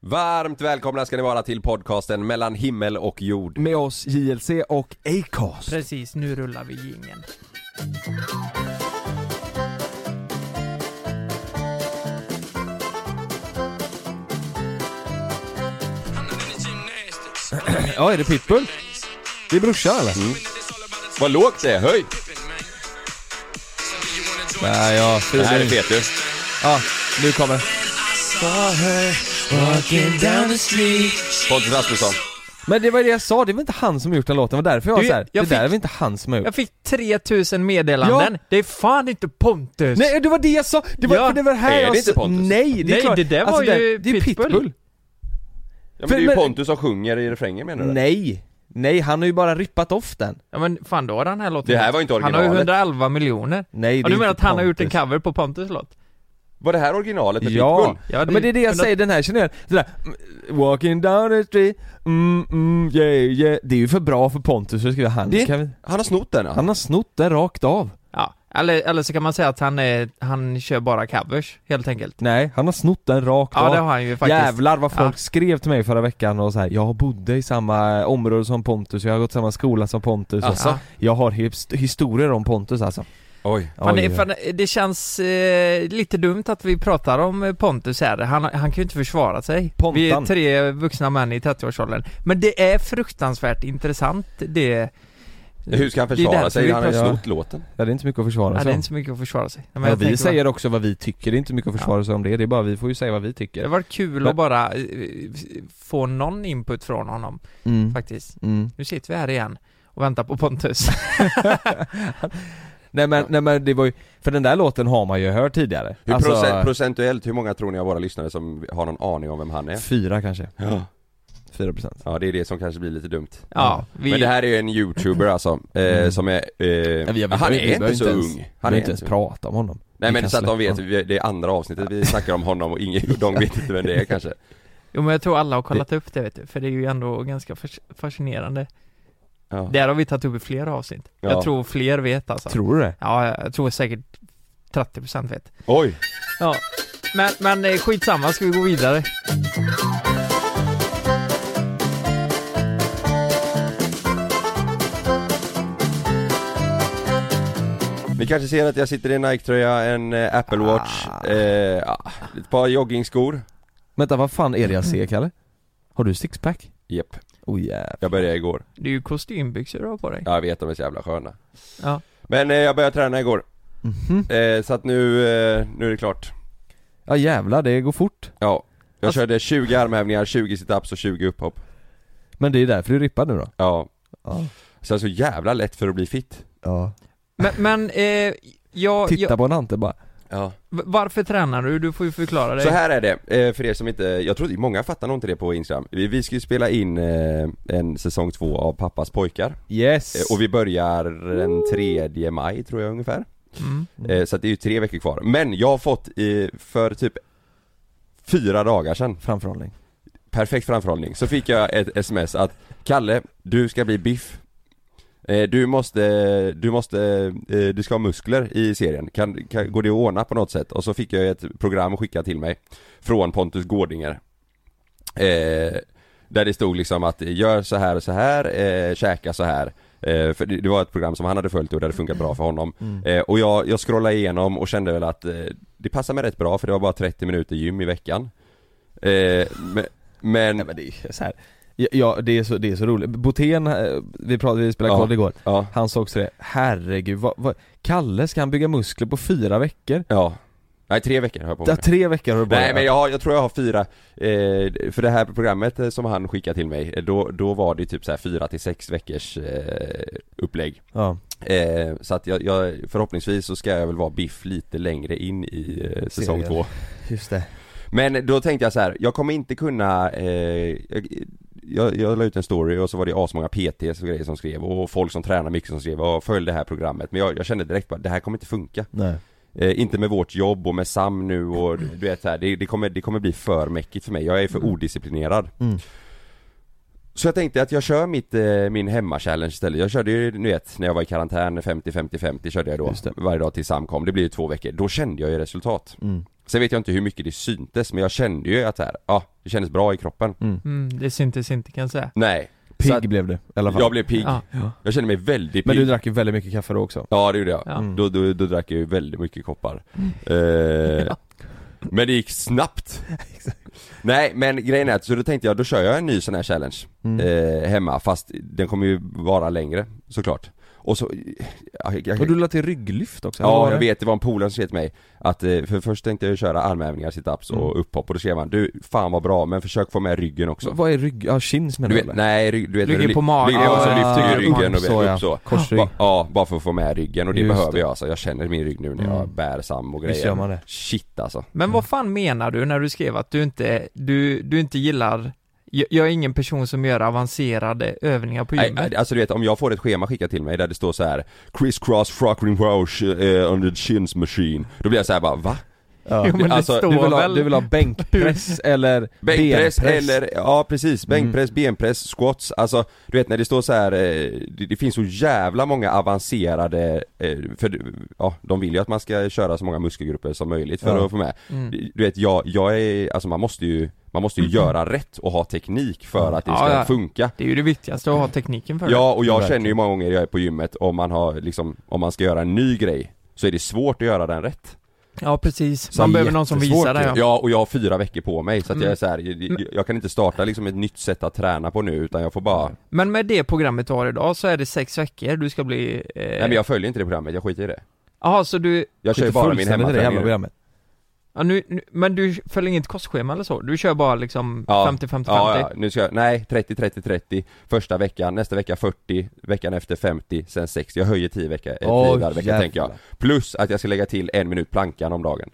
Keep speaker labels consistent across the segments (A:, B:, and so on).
A: Varmt välkomna ska ni vara till podcasten mellan himmel och jord.
B: Med oss JLC och Acast.
C: Precis, nu rullar vi jingeln.
B: Ja, är det Pitbull? Det är brorsan eller?
C: Mm.
A: Vad lågt det är, höj!
B: Nej, ja.
A: Det här är fet ju.
B: Ja, nu kommer.
A: Pontus Rasmusson.
B: Men det var det jag sa, det var inte han som gjort den låten, det var därför jag var
C: Du,
B: såhär, det
C: jag
B: där
C: fick-
B: är väl inte han som har gjort?
C: Jag fick 3000 meddelanden.
B: Ja.
C: Det är fan inte Pontus!
B: Nej, det var det jag sa! Det var,
C: Ja.
B: det var här
A: Är det
B: jag sa-
A: inte Pontus?
B: Nej, det är
C: Nej,
B: klart. Alltså,
C: det där var ju
B: det är Pitbull.
C: Pitbull.
A: Ja, men
B: För-
A: det är ju
B: men-
A: Pontus som sjunger i refrängen menar
C: Mm.
A: du?
B: Nej, nej, han har ju bara rippat off den.
C: Ja men fan då har den här låten
A: Det här var inte
C: Han har ju
A: originalet.
C: 111 miljoner.
B: Nej,
C: Ja,
B: det
C: du
B: är
C: menar att
B: inte
C: han har gjort en
B: Pontus.
C: cover på Pontus låt?
A: Var det här originalet med
B: Ja,
A: Pitbull?
C: Ja, det-
B: men det är det jag
C: men det-
B: säger, den här känner jag, det där mm, Walking down the street, mm, mm, yeah, yeah Det är ju för bra för Pontus för att skriva han,
A: Det-
B: kan vi...
A: Han har snott den
B: Han har snott det rakt av
C: Ja, eller, eller så kan man säga att han, är, han kör bara covers, helt enkelt.
B: Nej, han har snott den rakt
C: Ja,
B: av
C: det har han ju faktiskt.
B: Jävlar vad folk
C: Ja.
B: skrev till mig förra veckan och så här. jag bodde i samma eh, område som Pontus, jag har gått samma skola som Pontus och
C: Asså?
B: Jag har his- historier om Pontus alltså
A: Oj.
C: Fan,
B: Oj,
C: det,
B: oj.
C: fan, det känns eh, lite dumt att vi pratar om eh, Pontus här. Han, han kan ju inte försvara sig.
B: Pontan.
C: Vi är tre vuxna män i 30-årsåldern. Men det är fruktansvärt intressant det.
A: Hur ska han
C: Det är
A: försvara
C: därför
A: sig?
C: vi
A: Han har ju
B: pratar-
A: snott låten.
B: Ja, det är inte mycket att försvara
C: Ja, det
B: sig
C: är
B: om
C: inte så mycket att försvara sig. Men
B: ja,
C: jag
B: Vi
C: tänker
B: säger också vad vi tycker, det är inte mycket att
C: Ja.
B: försvara sig om det, det är bara vi får ju säga vad vi
C: bara, det
B: tycker
C: var kul
B: Men-
C: att bara eh, få någon input från honom
B: mm.
C: faktiskt.
B: Mm.
C: Nu sitter vi här igen och väntar på Pontus.
B: Nej men,
A: Ja.
B: nej men det var ju, för den där låten har man ju hört tidigare Alltså,
A: Hur procent, procentuellt, hur många tror ni av våra lyssnare som har någon aning om vem han är?
B: Fyra kanske,
A: Ja.
B: fyra procent
A: Ja, det är det som kanske blir lite dumt.
C: Ja, vi,
A: Men det här är ju en youtuber alltså, eh,
B: Mm.
A: som är... Eh,
B: vi- vi
A: han
B: behöver-
A: är
B: vi
A: inte
B: behöver
A: så
B: inte ens-
A: ung.
B: Han
A: Han
B: är
A: är
B: inte ens
A: så-
B: prata om honom
A: Nej
B: Vi
A: men
B: kan
A: så att de
B: släppa
A: vet,
B: honom.
A: vi- det är andra avsnittet vi snackar om honom och ingen, de vet inte vem det är kanske.
C: jo, men jag tror alla har kollat upp det vet du, för det är ju ändå ganska fas- fascinerande.
A: Ja.
C: Det här har vi tagit upp i flera avsnitt.
A: Ja.
C: Jag tror fler vet alltså.
B: Tror du det?
C: Ja, jag tror säkert 30% vet.
A: Oj!
C: Ja. Men, men eh, skitsamma, ska vi gå vidare?
A: Ni kanske ser att jag sitter i en Nike-tröja, en eh, Apple Watch,
B: Ah.
A: eh, ja, ett par joggingskor.
B: Vänta, vad fan är det jag
A: Mm.
B: ser Kalle? Har du sixpack?
A: Jep,
B: Oh yeah.
A: jag började igår.
C: Det är ju kostymbyxor du har på dig.
A: Ja, Jag vet de är så jävla sköna.
C: Ja.
A: Men eh, jag började träna igår,
B: Mhm.
A: eh, så att nu, eh, nu är det klart.
B: Ja jävlar, det går fort.
A: Ja. Jag
C: Alltså-
A: körde 20 armhävningar, 20 situps och 20 upphopp.
B: Men det är därför du rippar nu då?
A: Ja.
B: Ja.
A: Så det är så jävla lätt för att bli fit.
C: Men, men eh, jag,
B: Titta
C: jag,
B: på Nante bara.
A: Ja.
C: v- varför tränar du? Du får ju förklara dig.
A: Så här är det, eh, för er som inte, jag tror att många fattar nog inte det på Instagram. Vi, vi ska ju spela in eh, en säsong två av Pappas pojkar.
B: Yes!
A: Eh, Och vi börjar den 3 maj tror jag ungefär.
C: Mm.
A: Eh, Så att det är ju tre veckor kvar. Men jag har fått eh, för typ fyra dagar sedan,
B: Framförhållning.
A: perfekt framförhållning, så fick jag ett sms att Kalle, du ska bli biff. Eh, Du måste, du måste, eh, du ska ha muskler i serien, kan, kan, går det att ordna på något sätt? Och så fick jag ett program skickat till mig från Pontus Gårdinger. Eh, där det stod liksom att gör så här och så här, eh, käka så här. Eh, för det, det var ett program som han hade följt och där det funkat bra för honom. Eh, och jag, jag scrollade igenom och kände väl att eh, det passade mig rätt bra för det var bara 30 minuter gym i veckan. Eh, men, men,
B: Nej men det är så här. Ja, ja det, är så, det är så roligt. Botén, eh, vi pratade, vi spelade
A: Ja.
B: kort igår.
A: ja,
B: Han sa också det, herregud vad, vad, Kalle ska han bygga muskler på fyra veckor?
A: ja. Nej, tre veckor har jag på
B: Ja,
A: mig.
B: tre veckor har du bara
A: Nej men jag, har, jag tror jag har fyra, eh, för det här programmet eh, som han skickade till mig, eh, då, då var det typ så här fyra till sex veckors eh, upplägg.
B: Ja.
A: Eh, så att jag, jag, förhoppningsvis så ska jag väl vara biff lite längre in i eh, säsong
B: Serien.
A: två.
B: Just det.
A: Men då tänkte jag så här, jag kommer inte kunna eh, jag, jag, jag la ut en story och så var det asmånga PTs och grejer som skrev och folk som tränar mycket som skrev och följde det här programmet men jag, jag kände direkt bara det här kommer inte funka
B: Nej.
A: eh, Inte med vårt jobb och med Sam nu och du vet så här, det, det, kommer, det kommer bli för mäckigt för mig, jag är för odisciplinerad
B: Mm.
A: Så jag tänkte att jag kör mitt, eh, min hemma-challenge istället. Jag körde ju, ni vet, när jag var i karantän 50-50-50 körde jag då
B: Just det.
A: varje dag tills Sam kom. Det blir ju två veckor. Då kände jag ju resultat.
B: Mm.
A: Sen vet jag inte hur mycket det syntes, men jag kände ju att så här, ja, det kändes bra i kroppen.
C: Mm, det syntes inte kan jag säga.
A: Nej.
B: Pigg
A: Så att-
B: blev du i alla fall.
A: Jag blev pigg.
C: Ja.
A: Jag kände mig väldigt pigg.
B: Men du drack ju väldigt mycket kaffe då också. Mm.
A: Ja det gjorde jag.
C: Ja.
A: Då, då, då drack jag ju väldigt mycket koppar. Eh, Men det gick snabbt. Nej men grejen är att, så då tänkte jag, då kör jag en ny sån här challenge
B: Mm.
A: eh, hemma fast den kommer ju vara längre såklart. Och så, ja, jag,
B: Och du la till rygglyft också? eller vad
A: ja
B: var
A: jag
B: det?
A: vet, det var en polare som skrev till mig att, eh, för först tänkte jag köra armhävningar, situps och upphopp och då skrev han du, fan vad bra men försök få med ryggen också.
B: Vad är rygg... Ja, chins menar
A: Du
B: du?
A: vet,
B: eller?
A: nej, rygg- du vet
C: Ligger
A: när du
C: på
A: li-
C: magen.
A: ligger- Ja, så
C: Ah,
A: lyfter du ryggen och
B: upp så,
A: upp
B: ja.
A: så.
B: Korsrygg.
A: Ba- Ja, bara för att få med ryggen och det
B: Just
A: behöver
B: det.
A: jag alltså. Jag känner min rygg nu när jag
B: Mm.
A: bär Sam och grejer.
B: Visst gör man det.
A: Shit alltså.
C: Men vad fan menar du när du skrev att du inte, du, du inte gillar, jag, jag är ingen person som gör avancerade övningar på
A: Nej,
C: gymmet.
A: nej, alltså du vet om jag får ett schema skickat till mig där det står så här Criss cross frockering roche eh, on the chins machine. Då blir jag så här bara va?
B: Ja.
C: Jo, men
A: alltså,
C: det
A: du
C: står
B: Du vill, ha,
C: väl...
B: du vill ha bänkpress eller
A: Bänkpress
B: benpress. Mm.
A: eller, ja precis, bänkpress, benpress, squats, alltså du vet när det står så här, eh, det, det finns så jävla många avancerade, eh, för ja, de vill ju att man ska köra så många muskelgrupper som möjligt för
B: Ja.
A: att få med.
C: Mm.
A: Du vet jag, jag är, alltså man måste ju, man måste ju göra rätt och ha teknik för att det ska
C: Ja, ja.
A: funka.
C: Det är ju det viktigaste att ha tekniken för.
A: Ja och jag
B: Verkligen.
A: känner ju många gånger jag är på gymmet om man har liksom, om man ska göra en ny grej så är det svårt att göra den rätt.
C: ja precis.
A: Så
C: Man behöver någon som
A: jättesvårt
C: visar det.
A: ju.
C: Ja.
A: Ja, och jag har fyra veckor på mig så att jag är
C: Mm.
A: så här, jag, jag- jag kan inte starta liksom ett nytt sätt att träna på nu utan jag får bara,
C: Men med det programmet du har idag så är det sex veckor du ska bli... Eh...
A: nej men jag följer inte det programmet, jag skiter i det.
C: Jaha, så du...
A: Jag kör ju
B: Skiter
A: bara min
B: fullständigt i det jävla
A: hemmaträning. nu.
B: programmet.
C: Ja, nu, nu, men du följer inget kostschema eller så? Du kör bara liksom 50-50-50?
A: Ja.
C: Ja.
A: Ja, ja, nu ska jag, nej 30, 30, 30, första veckan, nästa vecka 40, veckan efter 50, sen 60, jag höjer 10 vecka, eh, 10
B: Åh,
A: varv vecka
B: jävlar.
A: tänker jag. Plus att jag ska lägga till en minut plankan om dagen,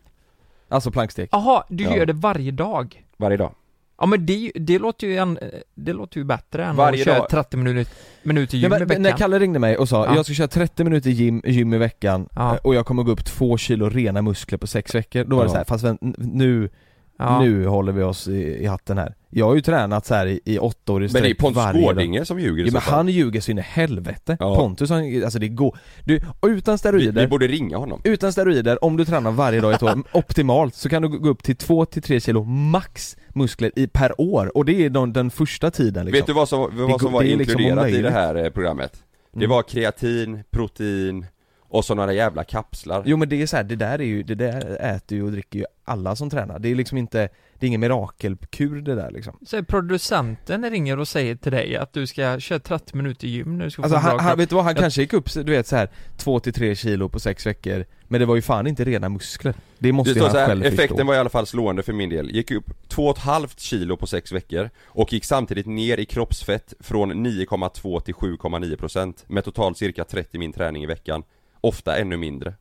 B: Alltså plankstek.
C: Jaha, du
A: Ja.
C: gör det varje dag?
A: varje dag.
C: Ja men det, det låter ju en, det låter ju bättre än
A: Varje
C: att köra
A: dag.
C: 30 minuter, minuter
B: Ja,
C: gym i
B: men, när
C: veckan.
B: Kalle ringde mig och sa
C: Ja.
B: jag ska köra 30 minuter gym, gym i veckan
C: Ja.
B: eh, och jag kommer gå upp två kilo rena muskler på sex veckor. Då var det
A: Ja.
B: så här, fast vänt, nu,
C: Ja.
B: nu håller vi oss i, i hatten här. Jag har ju tränat så här i, i åtta år i
A: Men det är
B: sträck
A: Pontus
B: varje dag.
A: Gårdinge som ljuger i
B: Ja,
A: så
B: men
A: fall.
B: han ljuger så in i helvete.
A: Ja.
B: Pontus han, alltså det går. Du, och
A: vi,
B: utan
A: vi
B: steroider,
A: borde ringa honom.
B: utan steroider, om du tränar varje dag i ett år, optimalt, så kan du gå upp till 2-3 kilo max muskler i, per år. Och det är de, den första tiden liksom.
A: Vet du vad som, vad
B: går-
A: som var
B: det är liksom
A: inkluderat i det
B: omöjligt.
A: här eh, programmet? Det
B: Mm.
A: var kreatin, protein och så några jävla kapslar.
B: Jo men det är så här, det där är ju, det där äter ju och dricker ju alla som tränar. Det är liksom inte, det är ingen mirakelkur det där liksom.
C: Så producenten ringer och säger till dig att du ska köra 30 minuter gym nu, du ska
B: Alltså
C: få en
B: han,
C: bra
B: han,
C: kropp.
B: vet du vad, han
C: Jag-
B: kanske gick upp du vet så här 2-3 kilo på 6 veckor, men det var ju fan inte rena muskler. Det måste
A: Det
B: ju
A: står
B: han
A: så här,
B: själv
A: effekten
B: förstå.
A: var i alla fall slående för min del. Gick upp 2,5 kilo på 6 veckor och gick samtidigt ner i kroppsfett från 9,2 till 7,9 procent med totalt cirka 30 min träning i veckan. Ofta ännu mindre.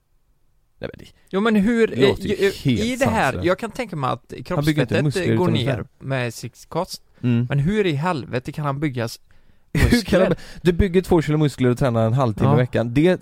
B: Nej, men det,
C: Jo men hur,
B: Det låter ju
C: eh, i, i
B: helt
C: det här,
B: sanslöst.
C: jag kan tänka mig att
B: bygger inte
C: kroppsfettet
B: muskler
C: eh, går
B: utan att
C: ner
B: träna.
C: med sitt kost,
B: mm.
C: men hur i helvete kan han byggas
B: Hur kan
C: muskler?
B: han, du bygger 2 kilo muskler och tränar en halvtimme
C: Ja.
B: i veckan. Det,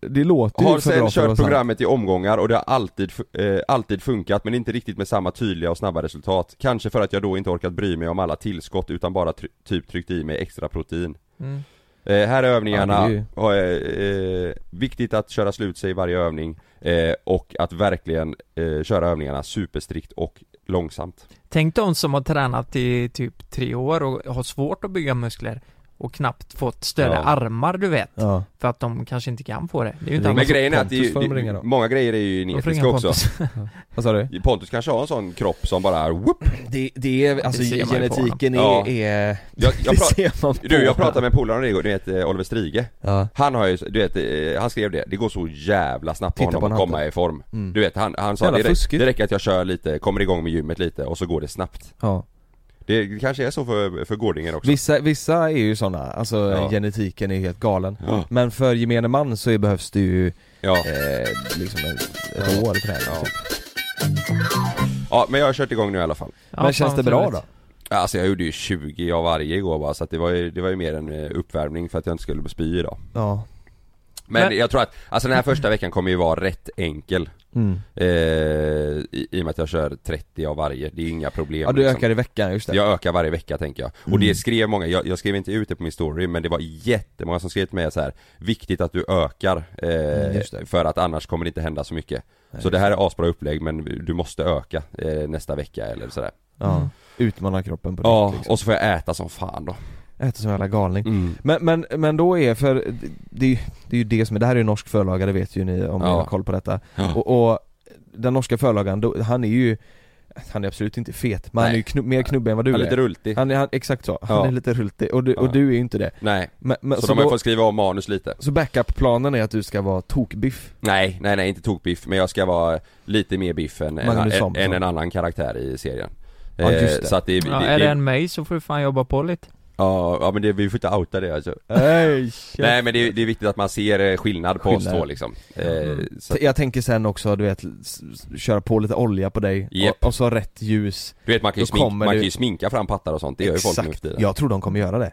B: det låter
A: Har
B: ju Typ för
A: sen
B: bra för att
A: kört
B: vara sant.
A: programmet i omgångar och det har alltid, fu- eh, alltid funkat men inte riktigt med samma tydliga och snabba resultat. Kanske för att jag då inte orkat bry mig om alla tillskott utan bara try- typ tryckt i mig extra protein.
C: Mm.
A: Eh, här är övningarna,
B: Ja, det är
A: och, eh, eh, viktigt att köra slut sig i varje övning eh, och att verkligen eh, köra övningarna superstrikt och långsamt.
C: Tänk de som har tränat i typ tre år och har svårt att bygga muskler och knappt fått större
A: Ja.
C: armar du vet,
B: Ja.
C: för att de kanske inte kan få det. Det är ju inte
B: Men
C: alla
A: Men
C: som-
A: grejen är att det,
B: Pontus får
A: är ju-
B: de ringa
A: det,
B: då.
A: många grejer är ju
C: de får
A: genetiska
C: ringa
A: också.
C: kompis.
B: Vad sa du?
A: Pontus kanske har en sån kropp som bara whoop.
B: Det, det är, alltså
C: Det ser man ju på
B: genetiken är,
A: honom.
B: är
A: Jag, jag
B: det
A: pra-
B: ser man på
A: du, jag
B: honom.
A: pratade med en polare om det igår, du vet eh, Oliver Strige.
B: Ja.
A: Han har ju, du vet, eh, han skrev det, det går så jävla snabbt
B: Titta
A: på
B: på
A: honom att
B: han
A: komma i form.
B: Mm.
A: Du vet, han, han sa
B: Jävla
A: det, räck-
B: fuskigt.
A: det räcker att jag kör lite, kommer igång med gymmet lite och så går det snabbt.
B: Ja.
A: Det kanske är så för, för Gårdinger också.
B: Vissa, vissa är ju sådana, alltså
A: Ja.
B: genetiken är helt galen.
A: Ja.
B: Men för gemene man så är, behövs det ju
A: Ja.
B: eh, liksom ett, ett år för det här.
A: Ja.
B: Typ.
A: Ja men jag har kört igång nu i alla fall
C: Ja,
B: Men känns
C: fan,
B: det
C: vad
B: bra
C: roligt.
B: då?
A: Alltså jag gjorde ju 20 av varje igår bara så att det var ju, det var ju mer en eh, uppvärmning för att jag inte skulle spy idag
B: Ja.
A: Men,
C: Men-
A: jag tror att, alltså den här första veckan kommer ju vara rätt enkel
B: Mm.
A: eh, i, I och med att jag kör 30 av varje, det är inga problem
B: Ja du
A: liksom.
B: ökar i veckan, just det.
A: Jag ökar varje vecka tänker jag. Och
B: Mm.
A: det skrev många, jag, jag skrev inte ut det på min story men det var jättemånga som skrev till mig så här. Viktigt att du ökar,
B: Mm,
A: eh,
B: just det.
A: för att annars kommer det inte hända så mycket.
B: Nej,
A: så det här är asbra upplägg men du måste öka eh, nästa vecka eller sådär.
C: Mm.
B: Ja. Utmana kroppen på det.
A: Ja,
B: liksom. Mm.
A: och så får jag äta som fan då. Mm.
B: Äter som en jävla galning. Men, men, men då är, för det- det, är ju- det är ju det som är, det här är ju en norsk förlaga, det vet ju ni om ni
A: Ja.
B: har koll på detta.
A: Ja.
B: Och, och den norska förlagan, då, han är ju, han är absolut inte fet, men han är
A: Nej.
B: ju knu, mer knubbig än vad du
A: Ja,
B: är.
A: lite rultig.
B: han är han, exakt så, han
A: Ja.
B: är lite rultig och du,
A: Ja.
B: och du är ju inte det.
A: Nej,
B: Men, men,
A: så,
B: så
A: de har
B: då,
A: fått skriva om manus lite.
B: så backup-planen är att du ska vara tokbiff?
A: Nej, nej, nej, inte tokbiff, men jag ska vara lite mer biff än, än,
B: Magnus
A: än,
B: Samuelsson.
A: än en annan karaktär i serien.
B: Ja,
A: Eh,
B: just det.
A: Så att det, det,
C: Ja,
A: det,
C: är det en mig så får du fan jobba på lite.
A: ja, ja, men det, vi får inte outa det alltså.
B: Nej,
A: Nej men det är, det är viktigt att man ser eh, skillnad på oss
B: Skillnad.
A: två liksom. Eh,
C: Mm.
A: så, att-
B: Jag tänker sen också, du vet, s- s- köra på lite olja på dig
A: Japp.
B: och, och så rätt ljus.
A: du vet man kan, ju
B: Då
A: smink,
B: kommer
A: man
B: du-
A: kan ju sminka fram pattar och sånt, det gör ju folk nu för tiden. Ja.
B: jag tror de kommer göra det.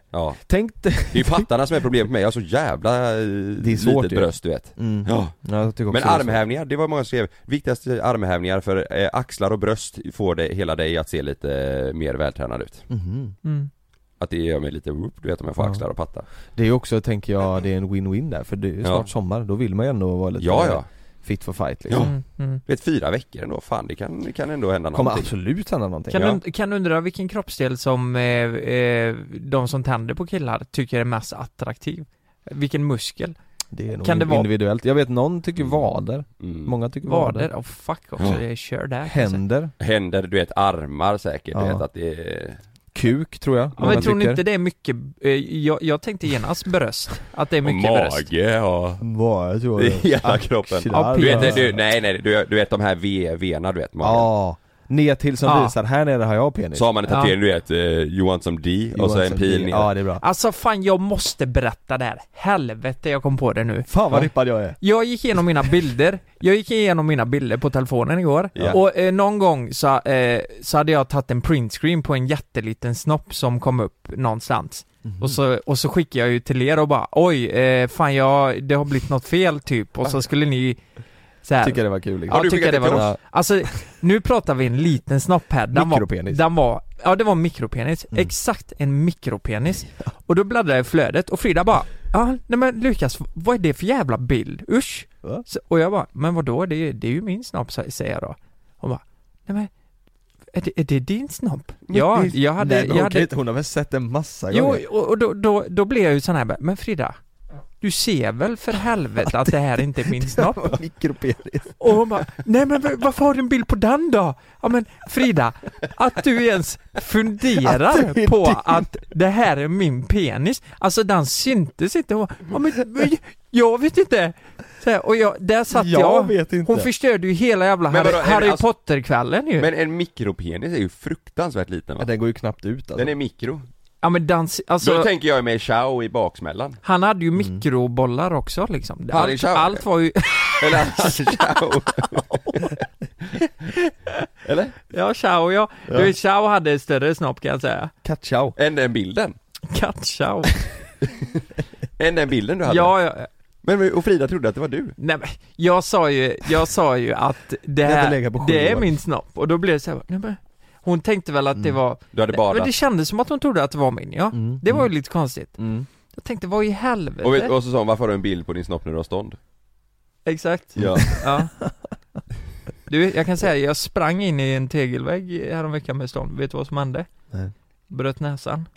B: Tänk dig...
A: Det är ju pattarna som är problemet med mig, jag har så jävla eh,
B: svårt
A: litet
B: ju.
A: bröst du vet.
B: Mm.
A: Ja.
B: Ja, jag tycker
A: Men
B: också det är så.
A: armhävningar, det var många som skrev. Viktigaste armhävningar för eh, axlar och bröst får det, hela dig att se lite eh, mer vältränad ut.
B: Mhm.
C: Mm.
A: Att det gör mig lite whoop, du vet om jag får
B: Ja.
A: axlar och pattar.
B: Det är ju också, tänker jag, det är en win-win där för det är ju
A: Ja.
B: snart sommar, då vill man ju ändå vara lite
A: Ja ja,
B: fit for fight liksom.
A: Ja.
C: Mm. Mm.
A: du vet fyra veckor ändå, fan det kan, det kan ändå hända
B: Kommer
A: någonting.
B: absolut hända någonting.
C: Kan,
A: Ja.
C: und- kan undra vilken kroppsdel som eh, eh, de som tänder på killar tycker är mest attraktiv? Vilken muskel?
B: Det är nog
C: Kan det vara-
B: individuellt. Jag vet någon tycker vader,
A: Mm.
B: många tycker vader.
C: Vader? Oh fuck också,
A: Ja.
C: det kör där kanske.
B: Händer,
A: Händer, du vet armar säkert, du
B: Ja.
A: vet att det är...
B: kuk tror jag.
C: Ja,
B: många
C: men tror ni
B: tycker.
C: inte det är mycket, eh, jag, jag tänkte genast bröst, att det är mycket
A: och
C: bröst.
A: mage och...
B: Vad, jag tror
A: I hela
B: Axlar.
A: kroppen.
C: Ja,
A: Du
C: Ja.
A: vet, du, nej nej, du, du vet de här v, v-na du vet magen.
B: Ja, ner till som
C: Ja.
B: visar, här nere har jag penis.
A: Så har man en tatuering du vet, eh, Johan som D och så en
B: Johansson,
A: pil
B: det-
A: ner.
B: Ja det är bra.
C: Alltså fan jag måste berätta det här, helvete jag kom på det nu.
B: Fan vad
A: Ja.
B: rippad jag är.
C: Jag gick igenom mina bilder, jag gick igenom mina bilder på telefonen igår
A: Ja.
C: och eh, någon gång så, eh, så hade jag tagit en printscreen på en jätteliten snopp som kom upp någonstans Mm. och, så, och så skickade jag ju till er och bara oj, eh, fan jag, det har blivit något fel typ och så skulle ni så här,
B: Tycker det var kul liksom.
C: Ja,
A: Har du
C: tycker
A: skickat
C: det
A: till
C: var
A: oss?
B: Ja.
C: Alltså, nu pratar vi en liten snopp här. Den
B: Mikropenis.
C: Var, den var, ja det var en mikropenis.
B: Mm.
C: Exakt en mikropenis. Och då bläddrade jag i flödet och Frida bara ah, nej men Lukas, vad är det för jävla bild? Usch!
B: Va?
C: Så, och jag bara, men vadå? Det är, det är ju min snopp, sä- säger jag då. Hon bara, nej men är det, är det din snopp? Ja, jag hade,
B: Nej, men
C: jag
B: hon kan
C: hade
B: inte- Hon har väl sett den massa
C: Jo,
B: gånger?
C: och, och då, då, då blev jag ju sån här, men Frida, du ser väl för helvete att det här inte är min snopp?
B: Mikropenis.
C: Och hon bara, nej men v- varför har du en bild på den då? Ja men Frida, att du ens funderar
B: Att det är
C: på
B: din.
C: att det här är min penis, alltså den syntes inte. Hon bara, ja, men, men jag vet inte. Så här, och jag, där satt jag.
B: Jag vet inte.
C: Hon förstörde ju hela jävla
A: Men
C: Harry,
A: vadå, är det
C: Harry
A: alltså-
C: Potter-kvällen ju.
A: Men en mikropenis är ju fruktansvärt liten va?
B: Ja, den går ju knappt ut alltså.
A: Den är mikro.
C: ja men dans, alltså,
A: Då tänker jag med Chao i baksmällan.
C: han hade ju
B: Mm.
C: mikrobollar också liksom.
A: Harry
C: Allt,
A: Schauer.
C: allt var ju,
A: Eller alltså, Chao. Eller?
C: ja Chao ja.
B: Ja.
C: Du, Chao hade större snopp kan jag säga.
B: Katschau.
A: Än den bilden.
C: Katt-Chao.
A: Än den bilden du hade.
C: Ja, ja,
A: Men och Frida trodde att det var du.
C: Nej men, jag sa ju, jag sa ju att det
B: har inte
C: här,
B: legat på sju
C: det är
B: år.
C: min snopp och då blev det så här, nej men hon tänkte väl att det
B: Mm.
C: var,
A: Du hade
C: nej, men
A: badat.
C: det kändes som att hon trodde att det var min ja.
B: Mm.
C: Det var ju
B: Mm.
C: lite konstigt.
B: Mm.
C: Jag tänkte, vad i helvete?
A: Och, vet, och så sa hon, varför har du en bild på din snopp när du har stånd?
C: Exakt.
A: Ja.
C: Ja. Du, jag kan säga, jag sprang in i en tegelvägg häromveckan med stånd. Vet du vad som hände?
B: Nej.
C: Bröt näsan.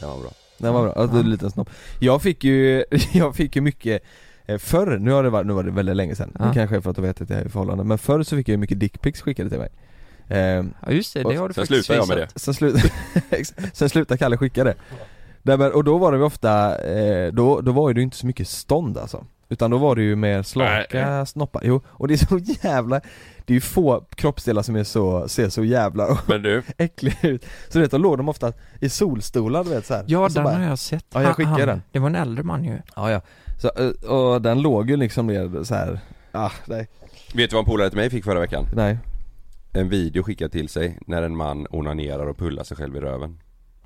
A: Det var bra.
B: Den var bra, alltså, en liten snopp. Jag fick ju, jag fick ju mycket eh, Förr, nu har det varit, nu var det väldigt länge sedan,
C: Ja.
B: det kanske är för att jag vet att jag är i förhållande, men förr så fick jag ju mycket dickpics skickade till mig eh,
C: Ja just det, det
B: Och
C: har du
A: Sen
C: faktiskt
A: slutade jag med
C: visat.
A: det.
B: Sen, slut, sen slutade Kalle skicka det Nej, men, Och då var det ju ofta, eh, då, då var det ju inte så mycket stånd alltså Utan då var det ju mer slaka snoppar, jo, och det är så jävla Det är ju få kroppsdelar som är så, ser så jävla
A: Men du,
B: äckliga ut Så du vet, då låg de ofta i solstolar du vet så här.
C: Ja
B: Och så
C: den
B: bara-
C: har jag sett.
B: Ja, jag
C: Han-
B: skickar
C: han-
B: den.
C: Det var en äldre man ju.
B: Ja, ja. Så, eh, och den låg ju liksom ner så här. Ah, nej.
A: vet du vad en polare till mig fick förra veckan?
B: nej.
A: En video skickad till sig när en man onanerar och pullar sig själv i röven.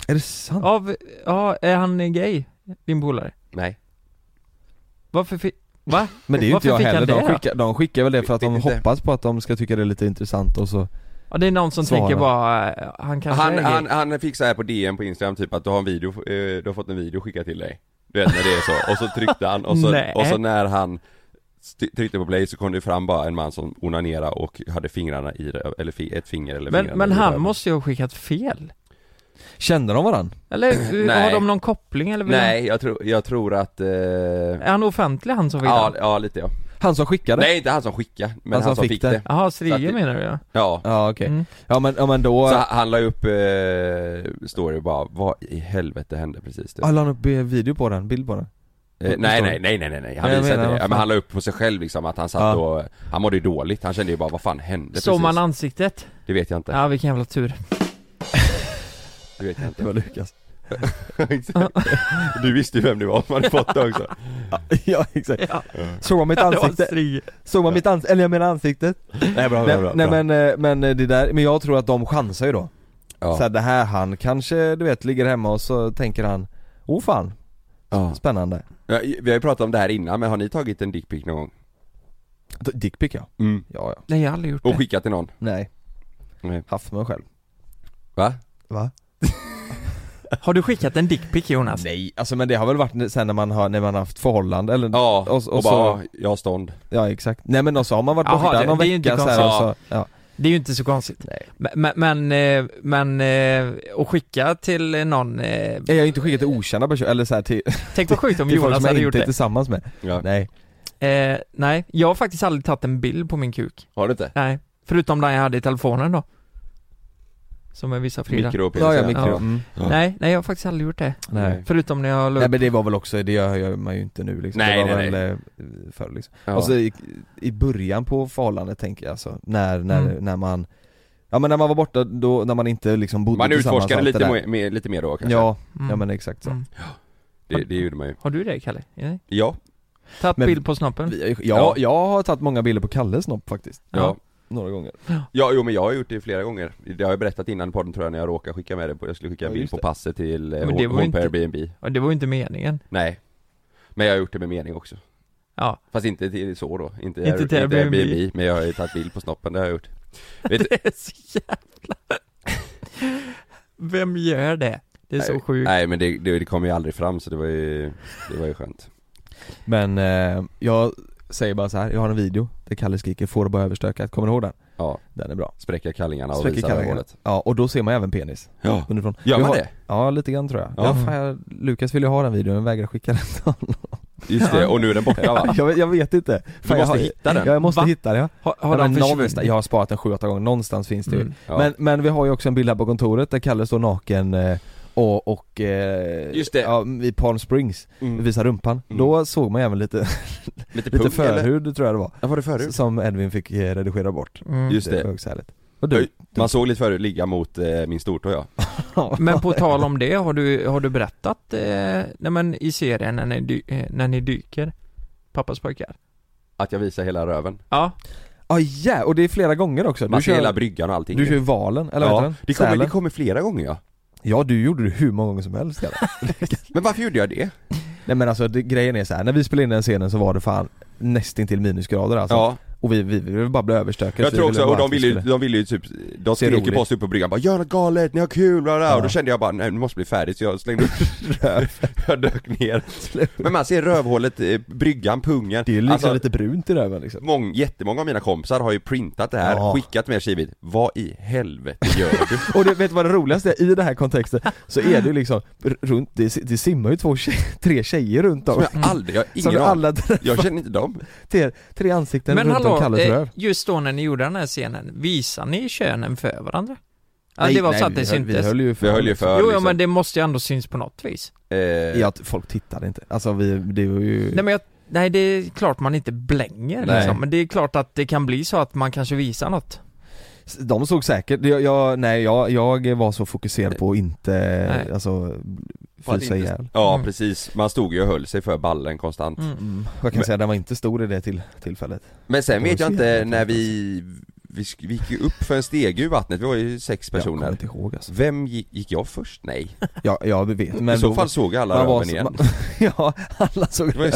B: Är det sant?
C: Av, ja, är han gay? Din polare?
A: Nej.
C: Varför fick, Va?
B: Men det är ju inte
C: Varför
B: jag
C: fick han
B: heller,
C: det
B: de
C: då?
B: skickar, de skickar väl det för att de
A: Vet inte.
B: hoppas på att de ska tycka det är lite intressant och så
C: Ja, det är någon som
B: Svara.
C: tänker bara, eh, han kanske
A: Han,
C: är
A: han, han fick så här på DM på Instagram typ att du har en video, eh, du har fått en video skickad till dig Du vet när det är så, och så tryckte han och så,
C: Nej.
A: och så när han st- tryckte på play så kom det fram bara en man som onanerade och hade fingrarna i röv, eller fi- ett finger eller
C: Men,
A: fingrarna
C: men
A: i
C: han
A: röven.
C: måste ju ha skickat fel.
B: Kände de varann?
C: Eller eh, har
A: Nej.
C: de någon koppling eller? vill
A: Nej, jag tror, jag tror att... Eh...
C: de- Är han offentlig han som vill
A: Ja,
C: ha?
A: ja, lite ja.
B: Han som skickade?
A: Nej, inte han som skickade, men han, som fick det.
C: Jaha,
A: Så
C: Strige
A: att-
C: menar du ja.
A: Ja.
B: Ja okej,
C: Mm.
B: ja, men, ja men
A: Så
B: då,
A: han han la upp eh, story och bara, vad i helvete hände precis? Typ.
B: ah, la han upp eh, video på den, bild på den?
A: Eh, nej, nej, nej, nej, nej, nej, han
B: Nej,
A: visade
B: jag
A: inte
B: menar,
A: det.
B: vad
A: Ja,
B: fan.
A: men han la upp på sig själv liksom att han
B: Ja.
A: satt och, han mådde ju dåligt, han kände ju bara vad fan hände
C: Såg man
A: precis?
C: ansiktet?
A: Det vet jag inte,
C: Ja, vilken jävla tur.
A: det vet jag
B: Det
A: inte
B: var Lukas
A: Exakt. Du visste ju vem det var om man hade fått det också
B: Ja exakt,
C: Ja,
B: såg man mitt
C: det var
B: ansikte?
C: Strige.
B: Såg man mitt ansikte? Eller jag menar ansiktet?
A: Nej bra,
B: Nej, nej men, eh, men eh, det där, men jag tror att de chansar ju då
A: ja.
B: Så här, det här han kanske, du vet, ligger hemma och så tänker han Oh fan,
A: Ja.
B: spännande
A: Ja, Vi har ju pratat om det här innan, men har ni tagit en dickpic någon gång?
B: Dickpic ja. ja, ja,
C: Nej, jag har aldrig gjort
A: Och
C: det.
A: skickat till någon?
B: nej
A: Nej.
B: Haft mig själv
A: Va?
B: Va?
C: Har du skickat en dickpic Jonas?
B: Nej, alltså men det har väl varit sen när man har, när man har haft förhållande eller
A: Ja,
B: Och-
A: och,
B: och så-
A: bara, jag har stånd
B: Ja exakt, nej men och så har man varit
C: Jaha,
B: borta
C: det-
B: någon
C: det är ju
B: vecka
C: inte
B: så här och så,
A: konstigt.
B: ja.
C: Det är ju inte så konstigt.
B: Nej.
C: Men, men, eh, men, eh, och skicka till eh, någon, eh,
B: Jag har ju inte skickat till okända personer, eller så här till,
C: tänk vad sjukt om
B: till folk
C: Jonas
B: som
C: hade
B: jag
C: gjort
B: inte är
C: det.
B: tillsammans med
A: ja.
B: Nej,
C: Eh, nej, jag har faktiskt aldrig tagit en bild på min kuk.
A: Har du inte?
C: Nej, förutom den jag hade i telefonen då. Som jag visar Frida.
A: Mikro och
B: ja, ja,
A: penis,
B: mikro,
C: Ja.
B: Mm.
A: Ja.
C: Nej, nej jag har faktiskt aldrig gjort det.
B: Nej.
C: Förutom när jag la
B: nej
C: upp.
B: men det var väl också, det gör gör man ju inte nu liksom
A: Nej,
B: det var
A: nej,
B: väl nej. förr liksom
A: Ja.
B: Och så i, i början på förhållandet tänker jag alltså, när, när,
C: Mm.
B: när man Ja men när man var borta då, när man inte liksom bodde
A: Man
B: tillsammans
A: utforskade
B: allt det
A: lite,
B: där.
A: mo- mer, lite mer då kanske?
B: Ja,
C: Mm.
B: ja men exakt så
C: Mm.
A: Det, det gjorde man ju
C: Har du det Kalle? Nej.
A: Ja,
C: Tagit
B: Men-
C: bild på snoppen?
B: Vi har ju-
A: Ja.
B: jag, jag har tagit många bilder på Kalles snopp faktiskt,
A: ja
B: några gånger
A: Ja, jo men jag har gjort det flera gånger. Det har jag berättat innan i podden tror jag när jag råkade skicka med det på, jag skulle skicka en
B: Ja,
A: bild
B: just
A: på
B: det.
A: passet till eh,
C: Men det
A: hon
C: var
A: hon på
C: inte-
A: Airbnb.
C: Ja, Det var ju inte meningen.
A: Nej. Men jag har gjort det med mening också.
C: Ja.
A: Fast inte till så då, inte,
C: Inte till
A: inte
C: Airbnb.
A: Airbnb. men jag har ju tagit bild på snoppen, det har jag gjort.
C: Det är så jävla... Vem gör det? Det är så sjukt.
A: Nej men det, det, det kom ju aldrig fram så det var ju, det var ju skönt.
B: Men eh, jag säger bara så här, jag har en video där Kalle skriker 'Får det bara överstökat' kommer du ihåg den?
A: Ja,
B: Den är bra
A: spräcka kallingarna och
B: Sträcker
A: visa
B: kallingarna.
A: hålet.
B: Ja och då ser man även penis
A: Ja.
B: underifrån
A: Gör
B: Jag
A: man
B: har,
A: det?
B: Ja lite grann tror jag, ja.
A: Ja.
B: fan, jag, Lukas ville ju ha den videon men vägrade skicka den till honom
A: Just det, och nu är den borta va?
B: jag, vet- jag vet inte
A: Du
B: Fan, jag
A: måste
B: har-
A: hitta den.
B: Ja jag måste
C: Va?
B: hitta den ja.
C: Har,
B: Ja,
C: har de
B: men någonstans,
C: försvunnit?
B: jag har sparat den 7-8 gånger, någonstans finns det ju
C: Mm.
A: Ja.
B: men, men vi har ju också en bild här på kontoret där Kalle står naken eh, och, och eh,
A: Just det.
B: Ja, i Palm Springs,
A: Mm.
B: visar rumpan.
A: Mm.
B: Då såg man även lite,
A: Lite pung
B: lite
A: eller?
B: förhud tror jag det var,
A: Ja var det förhud?
B: som Edvin fick eh, redigera bort.
C: Mm.
A: Just
B: Det
A: det.
B: var också härligt. Och du?
A: Man såg lite förhud ligga mot eh, min stortå ja.
C: Men på tal om det, har du, har du berättat eh, nej, men i serien när ni, dy, eh, när ni dyker? Pappas pojkar?
A: Att jag visar hela röven.
C: Ja,
B: Ja ja, och det är flera gånger också.
A: Man
B: Du
A: ser hela
B: kör,
A: bryggan och allting.
B: du kör ju valen, eller vad
A: ja,
B: heter den?
A: det kommer, det
B: Sälen.
A: kommer flera gånger ja.
B: Ja du gjorde det hur många gånger som helst Kalle.
A: Men varför gjorde jag det?
B: Nej men alltså det, grejen är så här. när vi spelade in den scenen så var det fan nästintill minusgrader alltså.
A: ja,
B: Och vi, vi, vi ville bara bli överstökade.
A: jag
B: så vi
A: tror också,
B: ville bara
A: och de
B: att vi
A: ville ju,
B: skulle-
A: de ville ju typ, de
B: Se
A: skrek ju
B: roligt.
A: på oss uppe på bryggan bara 'Gör något galet, ni har kul' bla, bla, bla.
B: Ja.
A: och då kände jag bara 'Nej, nu måste bli färdigt' så jag slängde upp jag dök ner Men man ser rövhålet, eh, bryggan, pungen
B: Det är ju liksom
A: Alltså,
B: lite brunt i röven liksom.
A: Mång, jättemånga av mina kompisar har ju printat det här,
B: Ja.
A: skickat med skrivit 'Vad i helvete gör du?'
B: Och det, vet du vad det roligaste är? I den här kontexten så är det ju liksom r- runt, det, det simmar ju två tje- tre tjejer runt om
A: Som jag aldrig, jag har
B: Som
A: ingen
B: du
A: aning
B: alla drar-
A: Jag känner inte dem
B: tre, tre ansikten
C: men
B: runt om
C: hallå,
B: Kalles
C: eh,
B: röv
C: just då när ni gjorde den här scenen, visar ni könen för varandra? Ja, det var så att det
B: vi höll, vi
C: syntes.
B: höll ju för,
A: Vi höll ju för
C: jo, ja,
A: liksom.
C: men det måste ju ändå syns på något vis.
B: Mm.
A: Eh,
B: Ja, att folk tittade inte, alltså vi, det var ju
C: Nej men jag, nej det är klart man inte blänger
A: Nej.
C: liksom, men det är klart att det kan bli så att man kanske visar något.
B: De såg säkert, jag, jag, nej jag, jag var så fokuserad på att inte,
C: Nej.
B: alltså
A: för att
B: frysa
A: inte-
B: ihjäl
A: Ja
C: Mm.
A: precis, man stod ju och höll sig för ballen konstant
C: Mm.
B: mm. Jag kan
A: Men-
B: säga den var inte stor i det till, tillfället
A: Men sen
B: Det
A: vet
B: var alltså.
A: jag
B: så
A: inte
B: jävla
A: när
B: fint,
A: vi, vi, sk- vi gick ju upp för en stege ur vattnet, vi var ju sex
B: Jag kommer
A: personer
B: inte ihåg alltså
A: Vem gick, gick jag först? Nej.
B: Ja, jag vet men
A: I så
B: då-
A: fall såg jag alla
B: man var
A: röven
B: så-
A: igen
B: man- Ja, alla såg
A: Det var ju-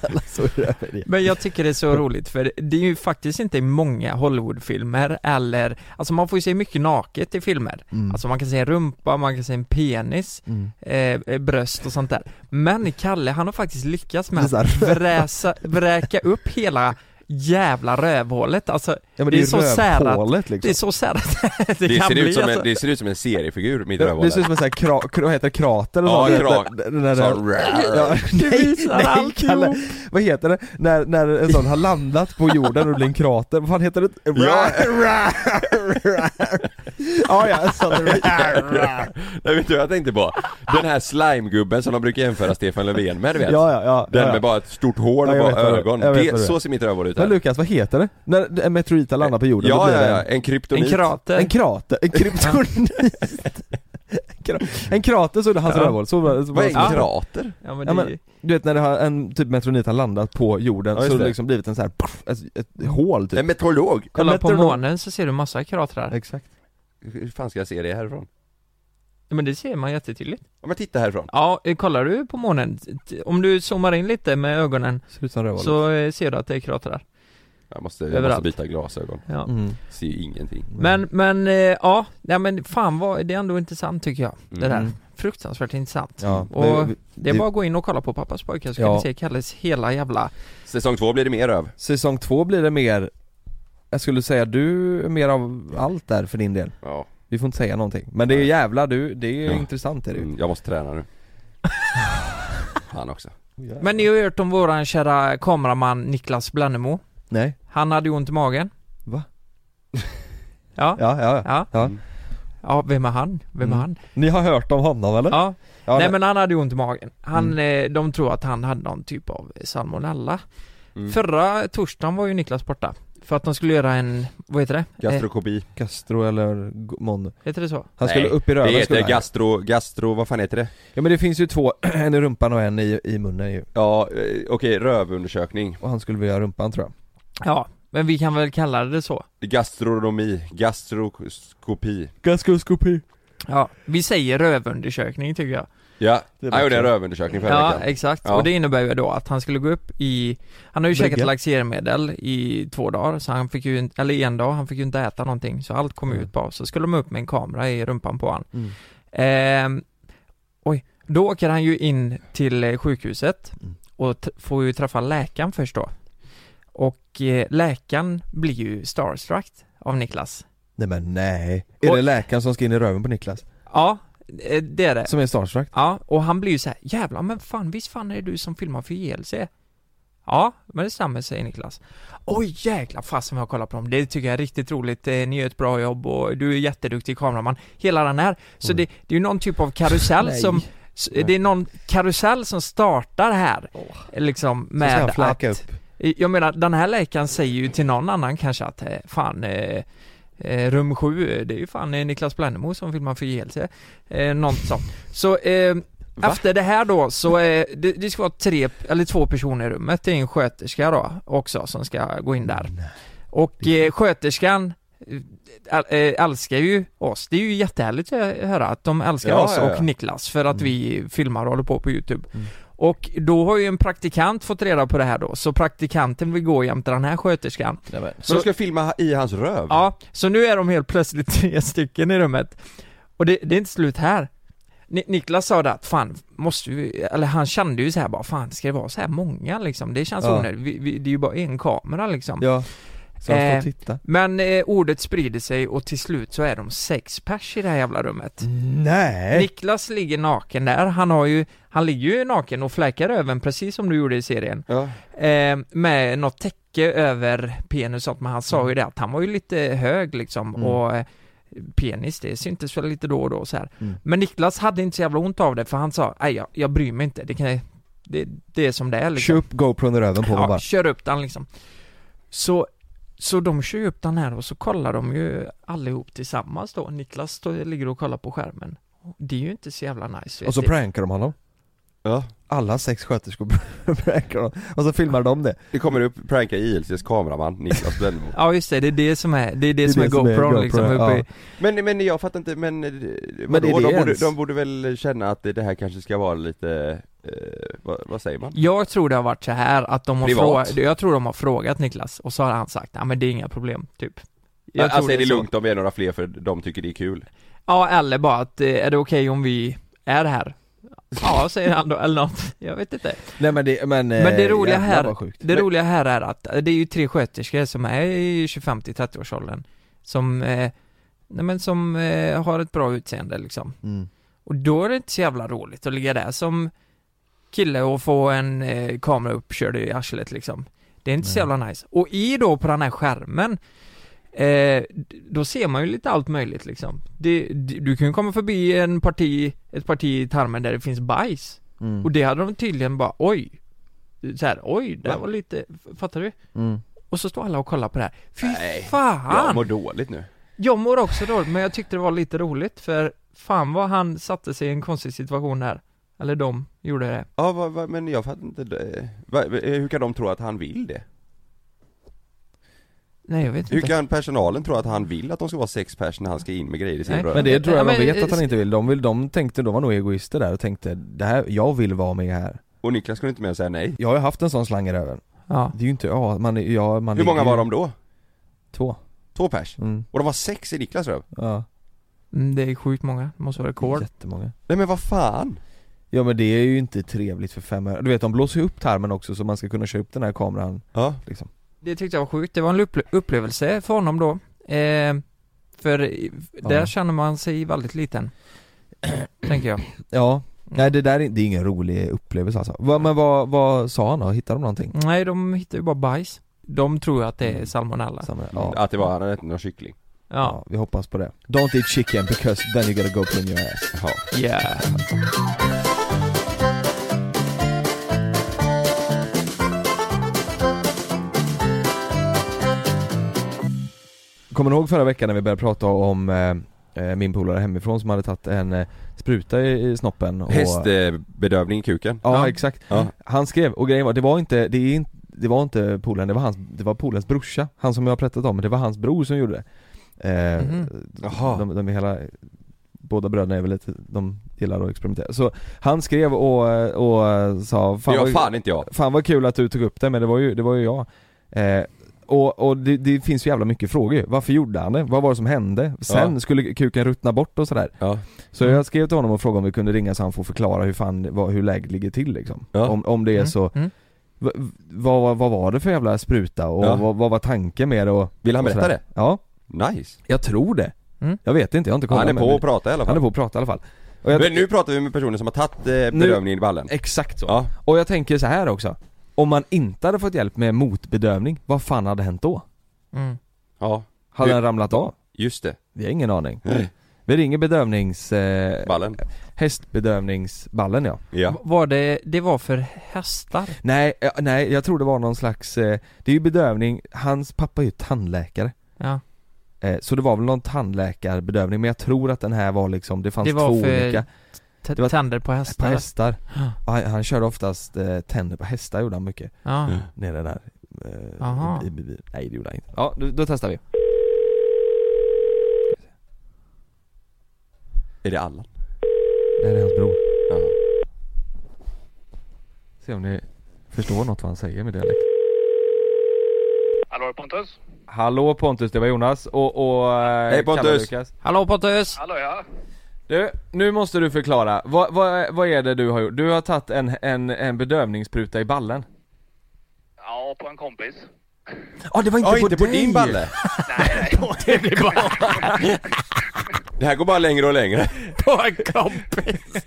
B: Alla såg över det.
C: Men jag tycker det är
B: Mm.
C: så roligt för det är ju faktiskt inte i många Hollywoodfilmer eller, alltså man får ju se mycket naket i filmer.
B: Mm.
C: Alltså man kan se en rumpa, man kan se en penis,
B: mm.
C: eh, eh, bröst och sånt där. Men Kalle han har faktiskt lyckats med
B: Det är
C: att
B: så här-
C: vräsa, vräka upp hela jävla rövhålet. Alltså
B: Ja, men
C: det
B: det,
C: är
B: är
C: så
B: ju
C: särat.
B: rövhålet liksom.
C: det är så särskilt det,
A: Det
C: kan
A: ser,
C: bli
A: ut som
C: alltså.
A: en, det ser ut som en seriefigur, mitt
B: Det,
A: rövhål
B: det ser ut som en sån här kra, kra, vad heter det, krater eller
A: Ja,
B: sånt.
A: krak-
B: Den- den- den-
A: Så-
B: den- Ja,
C: Du visar alltihop.
B: Vad heter det? När, när en sån har landat på jorden och det blir en krater, vad fan heter det?
A: Ja.
B: ja, ja, en sån
A: Jag vet du vad jag tänkte på? Den här slimegubben som de brukar jämföra Stefan Löfven med du vet?
B: Ja, ja, ja.
A: Den
B: ja, ja.
A: med bara ett stort hål och
B: Ja, jag
A: bara
B: vet vad det-
A: ögon.
B: jag vet
A: Det,
B: vad det är.
A: så ser mitt rövhål ut
B: Men
A: här.
B: Lukas, vad heter det? När en meteorit har landat på jorden, då
A: Ja,
B: blir
A: ja,
B: det
A: ja,
B: en-
A: en
C: En
A: kryptonit.
C: krater.
B: En krater, en kryptonit. En kra- en krater så är det hans
C: Ja.
B: rövhål, så, var- så var
A: Vad är en
C: Ja.
A: krater?
C: Ja, men
B: Ja,
C: det,
B: men- Du vet när det har en typ meteorit har landat på jorden
A: Ja,
B: så
A: just
B: har det
A: det.
B: liksom blivit en sån här, puff, ett, ett hål typ
A: En meteorolog?
C: kolla
B: en
C: på
B: meteorolog.
C: månen så ser du massa kratrar.
B: Exakt
A: Hur fan ska jag se det härifrån?
C: Ja, men det ser man jättetydligt.
A: Om jag tittar härifrån.
C: Ja, eh, kollar du på månen, t- om du zoomar in lite med ögonen
B: Ser ut som rövhålet
C: så eh, ser du att det är kratrar.
A: Jag måste, jag måste
C: Överallt.
A: byta glasögon.
C: Ja.
B: mm.
A: Ser ju ingenting.
C: Men, men, eh, ja, nej men fan vad, det är ändå intressant tycker jag, det där.
B: Mm.
C: Fruktansvärt intressant.
B: Ja,
C: Och
B: men-
C: det är bara att gå in och kolla på pappas pojkar så kan
B: Ja.
C: ni se Kalles hela jävla,
A: Säsong två blir det mer röv.
B: Säsong två blir det mer Jag skulle säga du är mer av allt där för din del
A: Ja.
B: Vi får inte säga någonting Men det är
A: Nej.
B: jävla du, det är
A: Ja.
B: intressant är det ju
A: Mm, jag måste träna nu. Han också.
C: men ni har hört om våran kära kameraman Niklas Blannemo.
B: Nej,
C: Han hade ju ont i magen.
B: Va?
C: ja,
B: ja, ja, ja.
C: ja. Ja, vem är han? Vem är
B: Mm.
C: han?
B: Ni har hört om honom eller?
C: Ja,
B: Ja, Mm.
C: nej men han hade ju ont i magen. Han, eh, de tror att han hade någon typ av salmonella.
A: Mm.
C: Förra torsdagen var ju Niklas borta. För att de skulle göra en, vad heter det? Eh,
A: Gastrokobi.
B: Gastro eller G- Mon
C: heter det så?
B: Han skulle
A: Nej,
B: upp
A: Det
B: i röven skulle
A: heter
B: han.
A: gastro, gastro, vad fan heter det?
B: Ja men det finns ju två, en i rumpan och en i, i munnen ju
A: Ja, eh, okej, rövundersökning.
B: Och han skulle vilja ha rumpan tror jag
C: Ja, men vi kan väl kalla det så.
A: Gastronomi, gastroskopi.
B: Gastroskopi
C: Ja, vi säger rövundersökning tycker jag.
A: Ja,
B: Det är
A: jag gjorde en
B: bättre. eh,
A: rövundersökning förra
C: Ja,
A: veckan.
C: exakt.
A: Ja.
C: Och det innebär ju då att han skulle gå upp i, han har ju
B: Brygga.
C: käkat laxermedel i två dagar, så han fick ju, inte- eller en dag, han fick ju inte äta någonting, så allt kom
B: Mm.
C: ut bara. Så skulle de upp med en kamera i rumpan på han.
B: mm.
C: Ehm, oj, då åker han ju in till eh, sjukhuset
B: Mm.
C: och t- får ju träffa läkaren först då. Och eh, läkaren blir ju starstruck av Niklas.
B: Nej men nej, är
C: Och-
B: det läkaren som ska in i röven på Niklas?
C: Ja, eh, det är det.
B: Som är starstruck?
C: Ja, och han blir ju så här, jävlar men fan visst fan är det du som filmar för JLC? Ja, men det stämmer säger Niklas. Oj jäklar fasen vad jag kollar på dem, det tycker jag är riktigt roligt, Eh, ni gör ett bra jobb och du är jätteduktig kameraman, hela den här. Så
B: Oj.
C: det, det är ju någon typ av karusell
B: Nej.
C: som, s- det är någon karusell som startar här, liksom
B: Så ska
C: med
B: han fläka
C: att,
B: upp
C: jag menar den här läkaren säger ju till någon annan kanske att, eh, fan eh, Eh, rum 7, det är ju fan eh, Niklas Blennemo som filmar för JLC. Eh, något sånt. Så eh,
A: Va?
C: efter det här då så, eh, det, det ska vara tre, eller två personer i rummet, det är en sköterska då också som ska gå in där. Och eh, sköterskan eh, äl- eh, älskar ju oss, det är ju jättehärligt att höra att de älskar
A: Ja,
C: oss
A: ja, ja.
C: och Niklas för att
B: Mm.
C: vi filmar och håller på på YouTube.
B: Mm.
C: Och då har ju en praktikant fått reda på det här då, så praktikanten vill gå jämte den här sköterskan.
A: Så de ska filma i hans röv?
C: Ja, så nu är de helt plötsligt tre stycken i rummet. Och det, det är inte slut här. Ni, Niklas sa det att fan, måste vi, eller han kände ju så här bara, fan ska det vara så här många liksom? Det känns
B: Ja.
C: onödigt, vi, vi, det är ju bara en kamera liksom.
B: Ja, så han
C: Eh,
B: får titta
C: Men eh, ordet sprider sig och till slut så är de sex pers i det här jävla rummet.
B: Nej!
C: Niklas ligger naken där, han har ju, han ligger ju naken och fläkar öven precis som du gjorde i serien.
A: Ja.
C: Eh, med något täcke över penis och sånt, men han sa ju det att han var ju lite hög liksom
B: Mm.
C: och eh, penis det syntes väl lite då och då så här.
B: Mm.
C: Men Niklas hade inte så jävla ont av det för han sa, nej jag, jag bryr mig inte, det, kan, det, det är som det är
B: Kör
C: liksom.
B: upp GoPron i röven på honom
C: Ja,
B: bara
C: kör upp den liksom. Så, så de kör ju upp den här och så kollar de ju allihop tillsammans då. Niklas står, ligger och kollar på skärmen. Det är ju inte så jävla nice. vet
B: Och så
C: du.
B: prankar de honom
A: Ja.
B: alla sex sköterskor prankar honom. Och så filmar de det.
A: Det kommer upp, prankar ILCs kameraman Niklas Bennemo
C: Ja just det, det är det som är, det är det, som är GoPro, liksom uppe i,
A: Men, men jag fattar inte, men, eh,
B: Men
A: vadå,
B: är det
A: de, borde,
B: ens?
A: de borde väl känna att det det här kanske ska vara lite, eh, vad, vad säger man?
C: Jag tror det har varit så här att de har
A: Privat.
C: frågat, jag tror de har frågat Niklas och så har han sagt, nej men det är inga problem, typ Jag
A: alltså
C: tror
A: är det
C: så.
A: lugnt om vi är några fler för de tycker det är kul?
C: Ja eller bara att, eh, är det okej om vi är här? Ja, säger han då, eller något. Jag vet inte.
B: Nej men det, men, eh,
C: Men det roliga
B: jävlar
C: här-
B: vad sjukt.
C: Det
A: Men-
C: roliga här är att eh, det är ju tre sköterskor som är i 25-30 årsåldern Som, eh, nej men som eh, har ett bra utseende liksom
B: Mm.
C: Och då är det inte så jävla roligt att ligga där som kille och få en eh, kamera uppkörd i arslet liksom. Det är inte så
B: Nej.
C: jävla nice. Och i då på den här skärmen Eh, d- då ser man ju lite allt möjligt liksom. Det, d- du kan ju komma förbi en parti, ett parti i tarmen där det finns bajs.
B: Mm.
C: Och det hade de tydligen bara, oj. Så här, oj, det här var lite, fattar du?
B: Mm.
C: Och så står alla och kollar på det här. Fy
A: Nej,
B: Ah.
C: fan!
A: Jag mår dåligt nu
C: Jag mår också dåligt, men jag tyckte det var lite roligt för fan vad han satte sig i en konstig situation här. Eller de gjorde det.
A: Ja, vad, vad, men jag fattar inte, det. Va, eh, hur kan de tro att han vill det?
C: Nej jag vet
A: Hur
C: inte.
A: kan personalen tro att han vill att de ska vara sex pers när han ska in med grejer i sin
C: Nej,
A: röv?
B: Men det tror jag
C: Ja,
B: de
C: men- eh,
B: vet att han inte vill. De, vill, de tänkte, de var nog egoister där och tänkte det här, jag vill vara med här.
A: Och Niklas kunde inte mer säga nej
B: Jag har ju haft en sån slang i röven.
C: Ja.
B: Det är ju inte, ja man, är- ja, man
A: Hur
B: ligger
A: många
B: ju-
A: var de då?
B: Två.
A: Två pers?
B: Mm.
A: Och de var sex i Niklas röv?
B: Ja.
C: Mm, Det är sjukt många, det måste vara rekord.
B: Jättemånga.
A: Nej men vad fan?
B: Ja men det är ju inte trevligt för fem öre. Du vet de blåser ju upp tarmen också så man ska kunna köra upp den här kameran
A: Ja,
B: liksom.
C: Det tyckte jag var sjukt, det var en upple- upplevelse för honom då. Eh, för i- där
B: Ja.
C: känner man sig väldigt liten. tänker jag.
B: Ja,
A: Mm.
B: nej det där är, det är ingen rolig upplevelse alltså. Va, men vad, vad sa han då? Hittade de någonting?
A: Mm.
C: Nej de hittar ju bara bajs. De tror ju att det är salmonella.
B: Samma-
A: att det var, han hade inte någon kyckling
C: Ja.
B: vi hoppas på det. Don't eat chicken because then you gotta go clean your ass.
A: Ja,
C: Yeah.
B: Kommer ni ihåg förra veckan när vi började prata om eh, eh, min polare hemifrån som hade tagit en eh, spruta i, i snoppen och...
A: Hästbedövning i kuken?
B: Ja,
C: Ja.
B: exakt.
A: Ja.
B: Han skrev, och grejen var, det var inte, det är inte det var inte polaren, det var hans, det var polarens brorsa, han som jag har pratat om, det var hans bror som gjorde det eh,
C: Mhm.
A: Jaha.
B: de, de är hela, båda bröderna är väl lite, de gillar att experimentera Så han skrev och, och sa
A: Det
B: fan,
A: var
B: vad,
A: fan inte jag
B: fan vad kul att du tog upp det, men det var ju, det var ju jag eh, Och, och det, det finns ju jävla mycket frågor ju. varför gjorde han det? Vad var det som hände? Sen
A: Ja.
B: skulle kuken ruttna bort och sådär
A: Ja,
B: så
C: Mm.
B: jag skrev till honom och frågade om vi kunde ringa så han får förklara hur fan, vad, hur läget ligger till liksom.
A: Ja.
B: om, om det är
C: Mm,
B: så,
C: mm.
B: v- v- vad, vad, vad var det för jävla spruta och
A: Ja.
B: vad, vad var tanken med det och,
A: vill han
B: och
A: berätta
B: sådär.
A: det?
B: Ja,
A: Nice!
B: jag tror det.
C: Mm.
B: Jag vet inte, jag har inte kollat
A: Han är
B: men-
A: på att prata i alla
B: Han är
A: fall
B: på att prata i alla fall. Och jag,
A: Men nu pratar vi med personer som har tagit eh, bedövningen i ballen
B: Exakt så.
A: Ja,
B: Och jag tänker så här också, om man inte hade fått hjälp med motbedövning, vad fan hade hänt då?
C: Mm.
A: ja,
B: Hade
A: Hur-
B: den ramlat av?
A: just det
B: Vi har ingen aning. Vi ringer bedövnings... Eh,
A: Ballen,
B: hästbedövningsballen ja.
A: ja
C: Var det, det var för hästar?
B: Nej, eh, nej jag tror det var någon slags, eh, det är ju bedövning, hans pappa är ju tandläkare
C: Ja.
B: eh, Så det var väl någon tandläkarbedövning men jag tror att den här var liksom, det fanns
C: Det var
B: två
C: för
B: olika
C: T-
B: Det var-
C: tänder på
B: På
C: hästar?
B: hästar,
C: Ja.
B: Och han, han körde oftast eh, tänder på hästar gjorde han mycket
C: Ja.
B: Nere där
C: Ah. Aha.
B: eh, i, i, i, Nej det gjorde han inte Ja, då, då testar vi
A: Är det Allan?
B: Det här är hans bror
A: Ja.
B: Se om ni förstår något vad han säger med dialekt
D: Hallå Pontus?
B: Hallå Pontus, det var Jonas och, och eh,
A: Hej, Pontus.
B: Kalle Lukas.
C: Hallå Pontus!
D: Hallå ja.
B: Du, nu måste du förklara. Vad, vad, vad är det du har gjort? Du har tagit en, en, en bedövningsspruta i ballen.
D: Ja, på en kompis.
B: Ja, det var
A: Ja, inte på din balle!
D: Nej, nej.
A: Det här går bara längre och längre
C: På en kompis!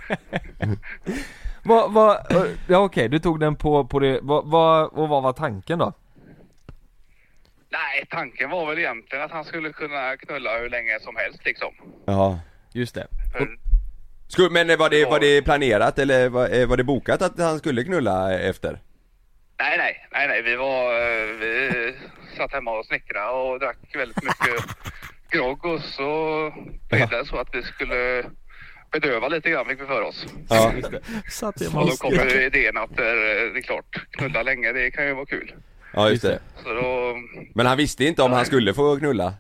B: Vad, vad, ja okej, du tog den på, på det, vad, vad, och vad var tanken då?
D: nej, tanken var väl egentligen att han skulle kunna knulla hur länge som helst liksom.
A: Ja
B: Just det.
D: För,
A: Sku- Men eh, var det, var det planerat eller var, eh, var det bokat att han skulle knulla eh, efter?
D: nej, nej, nej, nej. Vi var... eh, Vi satt hemma och snickrade och drack väldigt mycket grogg och så blev det så att vi skulle bedöva lite grann fick vi för oss.
A: Ja.
C: Satt jag
D: Och då
C: måste...
D: kommer idén att eh, det är klart, knulla länge det kan ju vara kul.
A: ja, just det.
D: Så då,
A: Men han visste inte om han skulle få knulla.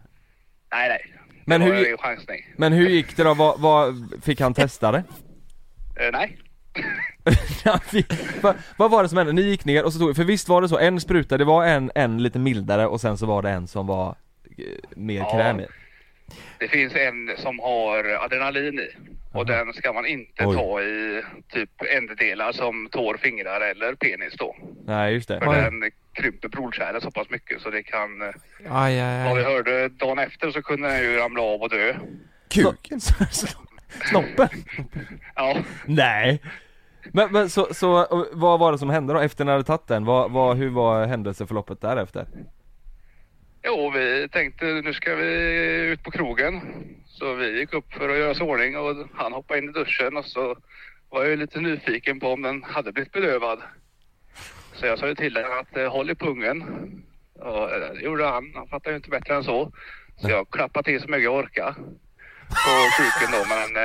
D: nej nej.
B: Men
D: det
B: hur-
D: var ju en chansning.
B: Men hur gick det då? Vad, vad fick han testa det?
D: Eh, nej.
B: Han fick- vad, vad var det som hände? Ni gick ner och så tog För visst var det så, en spruta, det var en, en lite mildare och sen så var det en som var eh, mer
D: Ja.
B: krämig
D: Det finns en som har adrenalin i. Och den ska man inte
A: Oj.
D: ta i typ ändedelar som tår, fingrar eller penis då.
B: Nej just det
D: För
C: Oj.
D: den krymper blodkärlen så pass mycket så det kan... eh,
C: Aj, aj,
D: Vad vi
C: aj.
D: hörde dagen efter så kunde den ju ramla av och dö.
A: Kuken?
B: Snoppen?
D: Ja,
B: Nej Men, men så, så, och vad var det som hände då efter ni hade tagit den? Vad, vad, hur var händelseförloppet därefter?
D: jo vi tänkte nu ska vi ut på krogen. Så vi gick upp för att göra oss i ordning och han hoppade in i duschen och så var jag ju lite nyfiken på om den hade blivit bedövad. Så jag sa ju till den att eh, håll i pungen. Och eh, det gjorde han, han fattade ju inte bättre än så. Så jag klappade till så mycket jag orkade. På kuken då men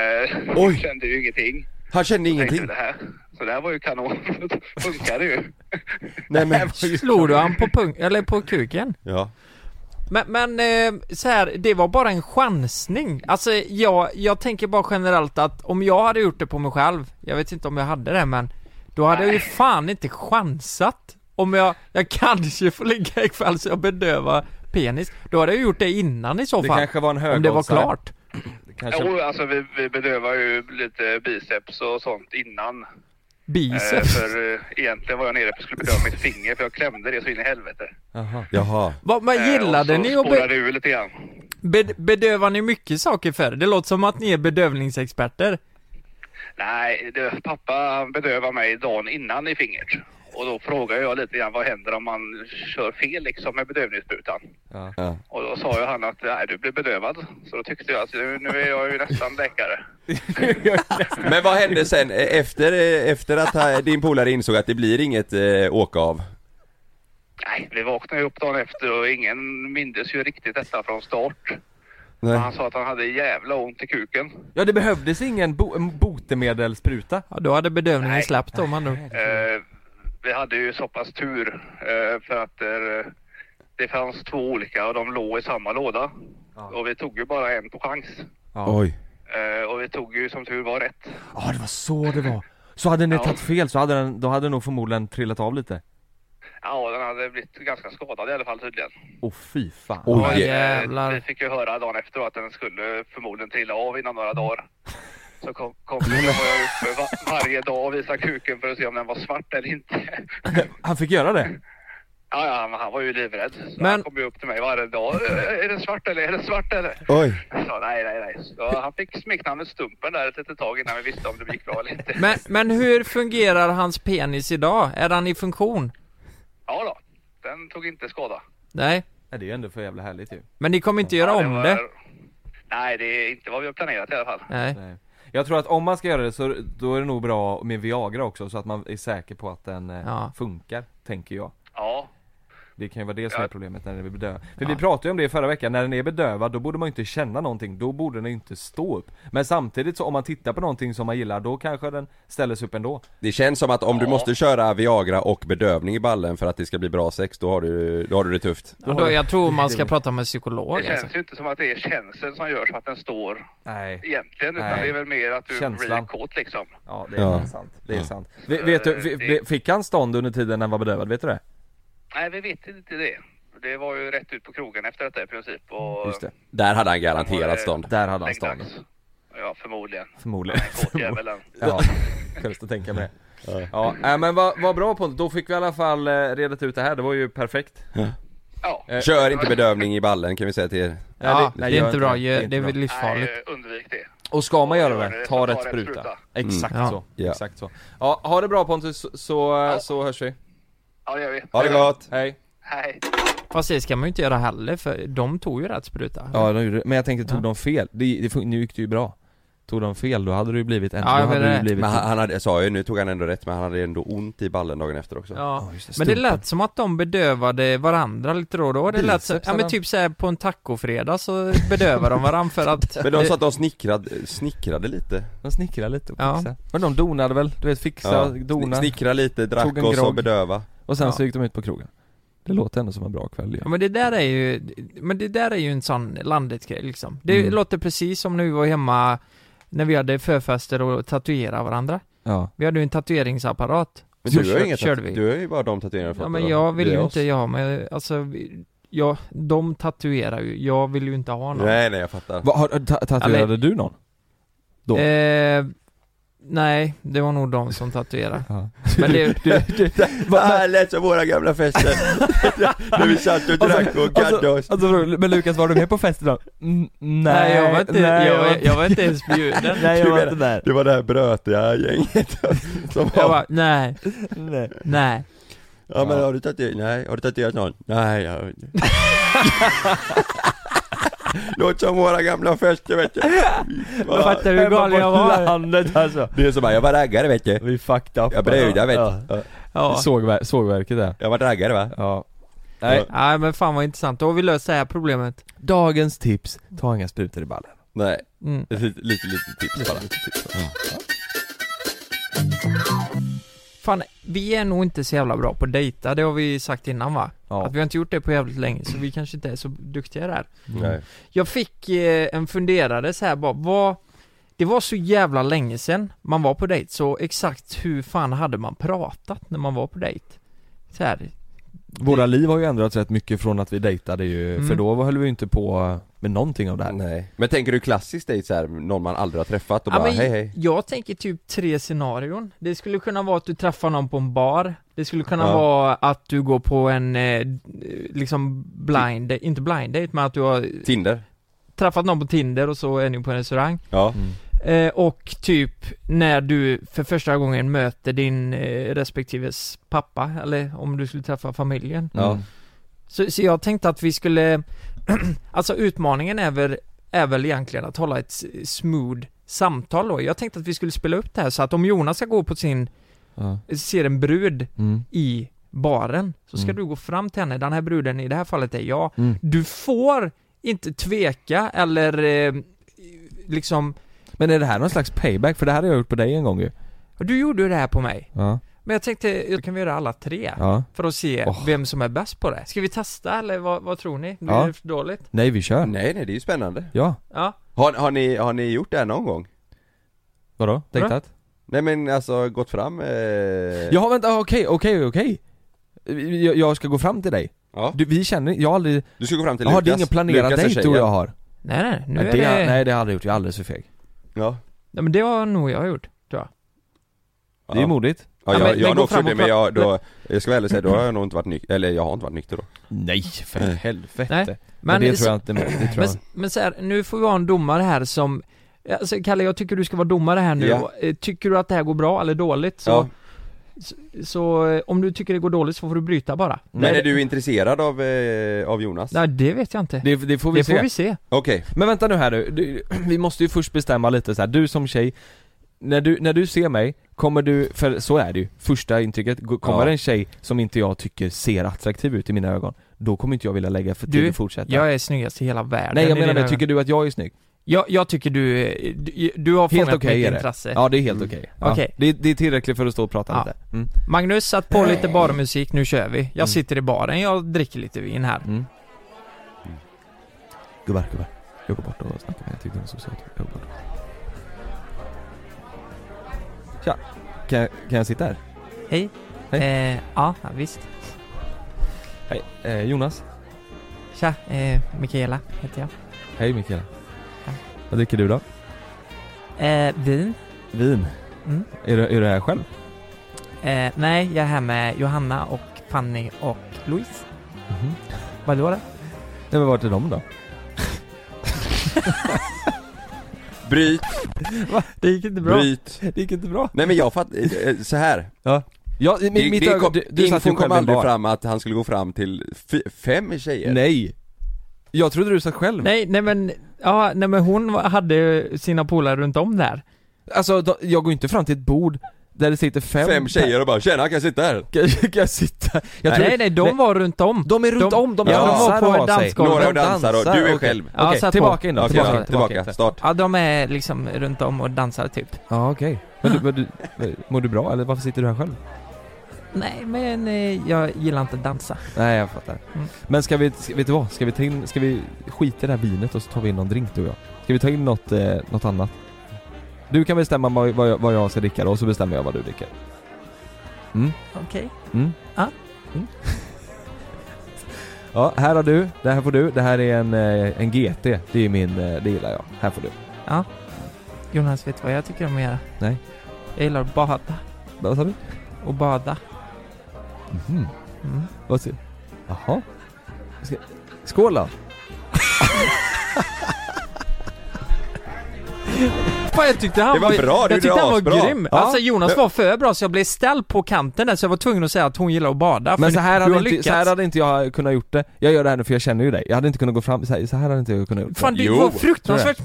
D: eh,
A: Oj.
D: kände ju ingenting.
A: Han kände
D: Tänkte
A: ingenting?
D: det här. Så det här var ju kanon. Funkade ju.
A: Nej men...
C: Slog du han på pung... eller på kuken?
A: Ja.
C: Men, men eh, så här, det var bara en chansning. Alltså jag, jag tänker bara generellt att om jag hade gjort det på mig själv, jag vet inte om jag hade det men, då hade jag ju fan inte chansat. Om jag, jag kanske får ligga ikväll så jag bedövar penis. Då hade jag gjort det innan i så
B: Det
C: fall.
B: kanske var en hög
C: om det var klart.
B: kanske...
D: Jo, alltså vi, vi bedövar ju lite biceps och sånt innan. Eh,
C: Biceps.
D: för eh, egentligen var jag nere för att skulle bedöva mitt finger för jag klämde det så in i helvete.
B: Jaha.
A: Jaha.
C: Vad, men gillade
D: eh,
C: ni
D: Och
C: att
D: så
C: be,
D: spolade det ur lite grann.
C: bed, bedöva ni mycket saker för? Det låter som att ni är bedövningsexperter.
D: Nej, det, pappa bedövade mig dagen innan i fingret. Och då frågade jag lite grann vad händer om man kör fel liksom med bedövningssprutan.
B: Ja.
A: Ja.
D: Och då sa ju han att nej, du blir bedövad. Så då tyckte jag att nu, nu är jag ju nästan läkare.
A: Men vad hände sen eh, efter, eh, efter att ha- din polare insåg att det blir inget eh, åka av?
D: Nej, vi vaknade ju upp dagen efter och ingen mindes ju riktigt detta från start. Men Han sa att han hade jävla ont i kuken.
B: ja det behövdes ingen bo- en botemedelsspruta
C: Ja, då hade bedövningen
D: Nej.
C: släppt om han nu.
D: Eh, vi hade ju så pass tur eh, för att eh, det fanns två olika och de låg i samma låda. Och vi tog ju bara en på chans.
A: Oj.
D: Eh, och vi tog ju som tur var rätt.
B: Ja det var så det var Så hade ni
D: Ja.
B: tagit fel så hade den, då hade den nog förmodligen trillat av lite
D: Ja, den hade blivit ganska skadad i alla fall tydligen.
B: Åh fy fan
A: Oj.
C: Oj,
A: eh,
D: Eh, vi
C: jävlar.
D: fick ju höra dagen efter att den skulle förmodligen trilla av inom några dagar. Så kom, kom då var jag uppe va- varje dag och visade kuken för att se om den var svart eller inte.
B: Han fick göra det?
D: Ja, ja han, han var ju livrädd. Så
C: Men-
D: Han kom ju upp till mig varje dag. "Eh, Är den svart eller? Är den svart eller?
A: Oj.
D: Jag sa nej, nej, nej. Så han fick smeknamnet Stumpen där ett litet tag innan vi visste om det gick bra eller inte.
C: Men, men hur fungerar hans penis idag? Är han i funktion?
D: Ja då, den tog inte skada.
C: Nej.
B: Ja, det är ju ändå för jävla härligt ju
C: Men ni kommer inte göra
D: Ja,
C: om
D: var-
C: det?
D: Nej, det är inte vad vi har planerat i alla fall.
C: Nej.
B: Nej. Jag tror att om man ska göra det så då är det nog bra med Viagra också så att man är säker på att den eh,
C: Ja.
B: funkar, tänker jag
D: Ja,
B: Det kan ju vara det som
D: Ja.
B: är problemet när den är bedövad För vi pratade ju om det förra veckan, när den är bedövad då borde man ju inte känna någonting, då borde den ju inte stå upp Men samtidigt så om man tittar på någonting som man gillar då kanske den ställer sig upp ändå
A: Det känns som att om du
D: Ja.
A: måste köra Viagra och bedövning i ballen för att det ska bli bra sex, då har du, då har du det tufft.
C: Och då, jag tror man ska prata med psykolog
D: det
C: alltså.
D: känns ju inte som att det är känseln som gör så att den står
B: Nej
D: egentligen. Utan
B: Nej.
D: det är väl mer att du
B: Känslan.
D: blir kåt liksom.
B: Ja det är
A: Ja.
B: sant, det är sant Ve- Vet du, vi- vi- fick han stånd under tiden när han var bedövad, vet du det?
D: Nej, vi vet inte det. Det var ju rätt ut på krogen efter detta i princip. Och
B: Just det,
A: Där hade han garanterat stånd.
B: där hade han stånd
D: läggdags. Ja, förmodligen.
B: Förmodligen
D: Kåtjävulen.
B: Ja, skönt att tänka med Ja, äh, men vad vad bra Pontus, då fick vi i alla fall eh, redat ut det här, det var ju perfekt
D: Ja.
B: Eh,
A: Kör inte bedövning i ballen kan vi säga till er.
C: Ja,
B: Nej,
C: det
B: gör
C: är inte bra.
B: det är
C: ju- Det
B: inte
C: är
B: bra.
C: väl livsfarligt.
D: Nej, eh, undvik det.
B: Och ska man göra
D: Gör
B: det,
D: det,
B: ta rätt spruta Exakt
C: Ja.
B: så,
A: Ja.
B: exakt så Mm. Ja, ha det bra Pontus, så, så hörs vi
D: Ja, det gör vi.
A: Ha det gott!
B: Hej
D: Hej.
C: Fast det ska man ju inte göra heller för de tog ju rätt spruta.
B: Ja, de gjorde det. men jag tänkte, tog
C: Ja.
B: de fel? Det, det fun- nu gick det ju bra Tog de fel då hade det ju blivit en,
C: Ja,
B: då
C: jag
B: hade
C: menar
B: det ju
C: det.
B: blivit
A: Men han, han hade, jag sa ju, nu tog han ändå rätt men han hade ändå ont i ballen dagen efter också
C: Ja.
B: just
C: Men det
B: stumpen.
C: lät som att de bedövade varandra lite då och då. Det lät så,
B: Biceps,
C: ja
B: eller?
C: men typ såhär på en tacofredag så bedövar de varandra för att...
A: Men de sa att de snickrade, snickrade lite
B: De snickrade lite och
C: Ja.
B: fixade Men de donade väl? Du vet fixa, dona
A: Sni- Snickrade lite,
B: Tog
A: drack
B: en
A: och så
B: grogg.
A: bedöva
B: och sen
C: Ja.
B: så gick de ut på krogen Det låter ändå som en bra kväll ju
C: Ja, men det där är ju, men det där är ju en sån landet-grej liksom. Det
B: Mm.
C: låter precis som när vi var hemma, när vi hade förfester och tatuerade varandra.
B: Ja,
C: Vi hade ju en tatueringsapparat.
A: Men
C: Så
A: du har
C: kör-
A: ju inget
C: körde vi.
A: Du har ju bara de tatueringarna
C: Ja,
A: fått
C: men
A: av-
C: jag vill
A: via
C: ju
A: oss.
C: inte, jag men alltså, vi- jag, de tatuerar ju, jag vill ju inte ha någon.
A: Nej nej jag fattar
B: Va, har, ta- tatuerade
C: Eller-
B: du någon? Då?
C: Eh, nej, det var nog de som tatuerade.
B: Ja.
C: Men det,
A: Det här lät som våra gamla fester När vi satt
C: Alltså,
A: och drack och gaddade oss
B: Alltså, frågar- men Lukas var du med på festen då? Mm, nej,
C: nej, jag var inte,
B: nej,
C: jag, var,
B: var-
C: jag var inte ens bjuden.
B: Nej
A: Du
B: jag var
A: menar-
B: inte där
A: Det var det här brötiga gänget som
C: Jag
A: var,
C: bara, nej,
B: Nej.
C: nej.
A: Ja men har du tatuerat, nej, har du tatuerat någon? Nej jag har inte Låter som våra gamla fester vet du
C: Jag fattar hur
B: Hemma
C: galen jag
B: på
C: var.
B: landet alltså
A: Det är som här, jag var raggare vet du
B: Vi fucked up alltså.
A: Jag brudar vet
B: Ja.
A: du
C: Ja.
B: Sågver- Sågverket där
A: Jag var raggare va?
B: Ja Nej,
C: Nej men fan vad intressant, då har vi löst det här problemet.
B: dagens tips, ta inga sprutor i ballen
A: Nej,
C: Mm.
A: lite, lite, lite tips bara
C: Fan, vi är nog inte så jävla bra på att dejta, det har vi sagt innan va?
B: Ja.
C: Att vi har inte gjort det på jävligt länge, så vi kanske inte är så duktiga där.
A: Nej,
C: Jag fick eh, en funderare så här bara, vad... Det var så jävla länge sedan man var på dejt, så exakt hur fan hade man pratat när man var på dejt? Så här.
B: Våra liv har ju ändrats rätt mycket från att vi dejtade ju,
C: Mm.
B: för då höll vi ju inte på med någonting av det här
A: nej Men tänker du klassiskt dejt såhär, någon man aldrig har träffat och
C: Ja,
A: bara
C: men
A: hej hej
C: Jag tänker typ tre scenarion. Det skulle kunna vara att du träffar någon på en bar. Det skulle kunna
A: Ja.
C: vara att du går på en, eh, liksom blind, inte blind date, men att du har
A: Tinder?
C: träffat någon på Tinder och så är ni på en restaurang.
A: Ja,
B: Mm.
C: Eh, och typ när du för första gången möter din eh, respektives pappa, eller om du skulle träffa familjen.
A: Ja.
C: Så, så jag tänkte att vi skulle, alltså utmaningen är väl, är väl egentligen att hålla ett s- smooth samtal då. Jag tänkte att vi skulle spela upp det här så att om Jonas ska gå på sin,
B: Ja.
C: ser en brud
B: Mm.
C: i baren, så ska
B: Mm.
C: du gå fram till henne, den här bruden i det här fallet är jag.
B: Mm.
C: Du får inte tveka eller eh, liksom,
B: Men är det här någon slags payback? För det här har jag gjort på dig en gång ju
C: du gjorde ju det här på mig.
B: Ja,
C: Men jag tänkte, då kan vi göra alla tre.
B: ja.
C: För att se
B: Åh.
C: vem som är bäst på det. Ska vi testa eller vad, vad tror ni? Blir
B: Ja.
C: det för dåligt?
B: Nej vi kör
A: nej nej det är ju spännande
B: Ja,
C: Ja.
A: Har, har, ni, har ni gjort det här någon gång?
B: vadå? Dejtat?
A: Nej men alltså gått fram eh...
B: Ja vänta, okej, okej, okej jag, jag ska gå fram till dig
A: Ja.
B: du, Vi känner, jag har aldrig,
A: Du ska gå fram till
B: jaha
A: Lukas
B: det är ingen planerad
A: Lukas är
B: dejt
A: tjejen.
B: tror jag har
C: Nej nej, nu
B: nej,
C: är det... Nej.
B: nej det har jag aldrig gjort, jag är alldeles för feg
A: Ja,
C: men det har nog jag gjort, tror jag.
B: Det är ju modigt
A: Ja,
C: Ja,
A: jag,
C: men- men
A: jag har
C: gå
A: nog också
C: fram
A: gjort det, men
C: och pra-
A: jag, då, jag ska väl ärligt säga, då har jag nog inte varit nykter, eller jag har inte varit nykter då
B: Nej för
A: Nej.
B: helvete
C: Nej,
B: Men,
C: Men,
B: det tror jag inte, det tror
C: men,
B: jag
C: men så här, nu får vi ha en domare här som... Alltså, Kalle, jag tycker du ska vara domare här nu.
A: Ja.
C: Och, eh, Tycker du att det här går bra eller dåligt så...
A: Ja.
C: Så, så eh, om du tycker det går dåligt så får du bryta bara.
A: Men
B: Nej.
A: är du intresserad av, eh, av Jonas?
C: Nej, det vet jag inte. Det,
B: det, det får vi se
C: får vi se.
A: Okej,
B: Men vänta nu här nu, du, vi måste ju först bestämma lite så här. du som tjej när du, när du ser mig, kommer du, för så är det ju, första intrycket, go- kommer
A: Ja.
B: en tjej som inte jag tycker ser attraktiv ut i mina ögon, då kommer inte jag vilja lägga för tid
C: Du,
B: att fortsätta
C: Jag är snyggast i hela världen.
B: Nej jag
C: i
B: menar
C: dina Eh.
B: det,
C: ögon.
B: tycker du att jag är snygg?
C: jag, jag tycker du, eh, du, du har
B: Helt
C: fångat
B: okej
C: mitt
B: är det.
C: intresse.
B: Ja det är helt okej, ja.
C: Mm. Okej.
B: det, är- det är tillräckligt för att stå och prata
C: Ja.
B: lite mm.
C: Magnus, satt på lite barmusik, nu kör vi. Jag
B: Mm.
C: sitter i baren, jag dricker lite vin här.
B: Mm. Gubbar, gubbar, jag går bort och snackar med henne, jag tyckte hon var så söt, jag går bort Tja, kan jag, kan jag sitta här?
C: Hej. Eh, ja, ja, visst.
B: Hej, eh, Jonas
C: Tja, eh, Mikaela heter jag.
B: Hej Mikaela.
C: Hej.
B: Vad dricker du då?
C: Eh, vin?
B: Vin.
C: Mm.
B: Är du, är du här själv?
C: Eh, nej, jag är här med Johanna och Fanny och Louise.
B: Mhm.
C: Vadå då?
B: Nej men vart är de då?
A: bryt,
C: Det gick inte
A: bryt
B: Det gick inte bra.
A: Nej men jag fattar, eh, så här.
B: Ja, i- mitt,
A: Det-
B: mitt
A: det
B: öga,
A: kom-
B: du, du satt ju
A: infon
B: själv
A: kom
B: i en
A: aldrig
B: bar.
A: fram att han skulle gå fram till f- fem tjejer
B: Nej. Jag trodde du satt själv.
C: Nej, nej men, ja, nej men hon var- hade sina polare runt om där.
B: Alltså, då- jag går inte fram till ett bord där det sitter fem
A: Fem tjejer och bara 'Tjena, kan jag sitta här?'
B: Kan jag, kan jag sitta? Jag
C: nej, nej, de var runt om.
B: De är runt
C: de-
B: om, de
A: ja, de var
B: dansar
C: på
B: och har sig.
C: dansgolvet.
A: Några dansar och du är
B: okej.
A: själv.
C: Ja,
B: Okej,
C: satt på.
B: tillbaka in då,
A: Okej,
B: tillbaka,
A: tillbaka, tillbaka,
B: in.
A: start.
C: Ja, de är liksom runt om och dansar typ.
B: Ja okej, men, du, men du, men mår du bra eller varför sitter du här själv?
C: Nej, men eh, jag gillar inte att dansa.
B: Nej jag fattar.
C: Mm.
B: Men ska vi, ska, vet du vad? Ska vi ta in, ska vi skita i det här vinet och så tar vi in någon drink du och jag? Ska vi ta in något, eh, något annat? Du kan bestämma vad, vad, jag, vad jag ska dricka då och så bestämmer jag vad du dricker.
C: Okej.
B: Mm.
C: Ja.
B: Mm. ja, här har du, det här får du, det här är en, eh, en GT, det är min, eh, det gillar jag. Här får du.
C: Jonas, vet du vad jag tycker om att göra?
B: Nej.
C: Jag gillar att bada
B: Vad sa du?
C: och bada.
B: Mhm.
C: Mm.
B: Vad ser Jaha. Ska... Skål då!
C: Fan, jag tyckte han
A: Det var bra, du
C: jag tyckte
A: gjorde
C: han var
A: asbra.
C: grym.
B: Ja.
C: Alltså Jonas var för bra så jag blev ställd på kanten där så jag var tvungen att säga att hon gillar att bada.
B: Men
C: för
B: så här,
C: du har
B: hade inte,
C: lyckats.
B: så här hade inte jag kunnat gjort det. Jag gör det här nu för jag känner ju dig. Jag hade inte kunnat gå fram, så här, så här hade inte jag kunnat gjort
C: Fan du
A: Jo,
C: var fruktansvärt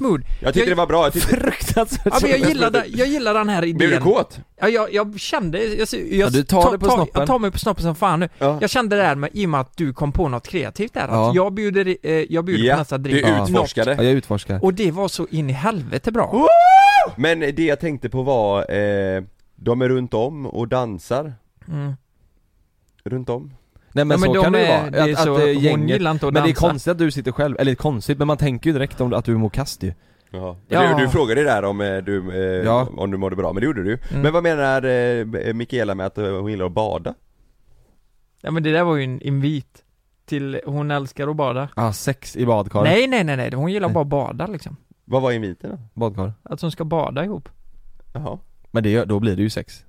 C: mood.
A: Jag tyckte det var bra, jag
B: det.
A: tyckte...
B: Fruktansvärt
C: Ja, men jag, gillade, jag gillar den här
A: Blev du
C: idén.
A: kåt?
C: Ja, jag, jag kände, jag, jag,
B: Ja, du tar
C: ta-
B: det på
C: ta-
B: snoppen.
C: Jag tar mig på snoppen som fan nu.
A: Ja.
C: Jag kände det här med, i och med att du kom på något kreativt där,
B: Ja.
C: att jag bjuder, eh, jag bjuder på
A: Ja,
C: nästa
A: du
C: drink.
B: Ja. Ja,
A: utforskade.
B: jag utforskar.
C: Och det var så in i helvete bra.
A: Men det jag tänkte på var, eh, de är runt om och dansar.
C: Mm.
A: Runt om.
B: Nej men,
C: Ja,
B: så
C: de
B: kan det ju
C: är-
B: vara.
C: det är
B: att,
C: så,
B: att, eh,
C: hon
B: gänget...
C: gillar inte att
B: Men det är
C: dansa.
B: konstigt att du sitter själv, eller konstigt, men man tänker ju direkt om att du mår kast ju.
A: Jaha.
C: Ja.
A: Du, du frågade där om eh, du, eh,
B: Ja.
A: om du mådde bra, men det gjorde du ju.
C: Mm.
A: Men vad menar eh, B- Mikaela med att eh, hon gillar att bada?
C: Ja men det där var ju en invit till, hon älskar att bada.
B: Ah, sex i badkar.
C: Nej nej nej nej, hon gillar bara att bada liksom.
A: Vad var inviten då?
B: Badkar.
C: Att hon ska bada ihop.
A: Jaha.
B: Men det, gör- då blir det ju sex.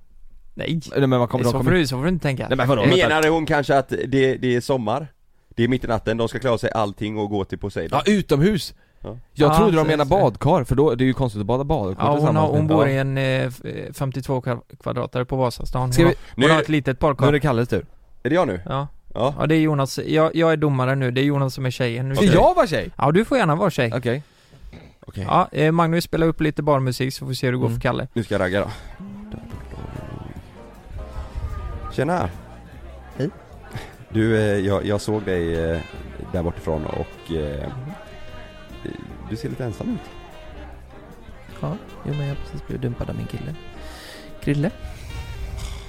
C: Nej,
B: Nej men vad
C: så
B: kommer de
C: får,
B: kommer...
C: du, så får du inte tänka.
B: Nej men vadå? Vänta.
A: Menade hon kanske att det, det är sommar? Det är mitt i natten, de ska klara sig allting och gå till Poseidon?
B: Ja, utomhus!
A: Ja.
B: Jag
C: Ja,
B: trodde de
C: så-
B: menade
C: så-
B: badkar, för då, det är ju konstigt att bada badkar
C: Ja, hon,
B: tillsammans
C: har,
B: med-
C: hon bor
B: Ja.
C: i en eh, f- eh, 52 kva- kvadratare på Vasastan. Hon,
B: Ska
C: har,
B: vi-
A: Nu
C: hon
A: är
C: har
A: det-
C: ett litet
B: Nu är
C: parkar.
B: det Kalles tur.
A: Är det jag nu?
C: Ja.
A: Ja.
C: ja, det är Jonas. Jag, jag är domare nu, det är Jonas som är tjejen. Nu
B: Ska
C: kör vi.
B: jag vara tjej?
C: Ja, du får gärna vara tjej.
B: Okej.
A: Okej.
C: Ja, eh, Magnus spelar upp lite barmusik så får vi se hur det går
B: Mm.
C: för Kalle.
A: Nu ska jag ragga då. Tjena! Hej. Du, eh, jag, jag såg dig eh, där bortifrån och eh, du ser lite ensam ut.
E: Ja, jo men jag har precis blivit dumpad av min kille. Krille.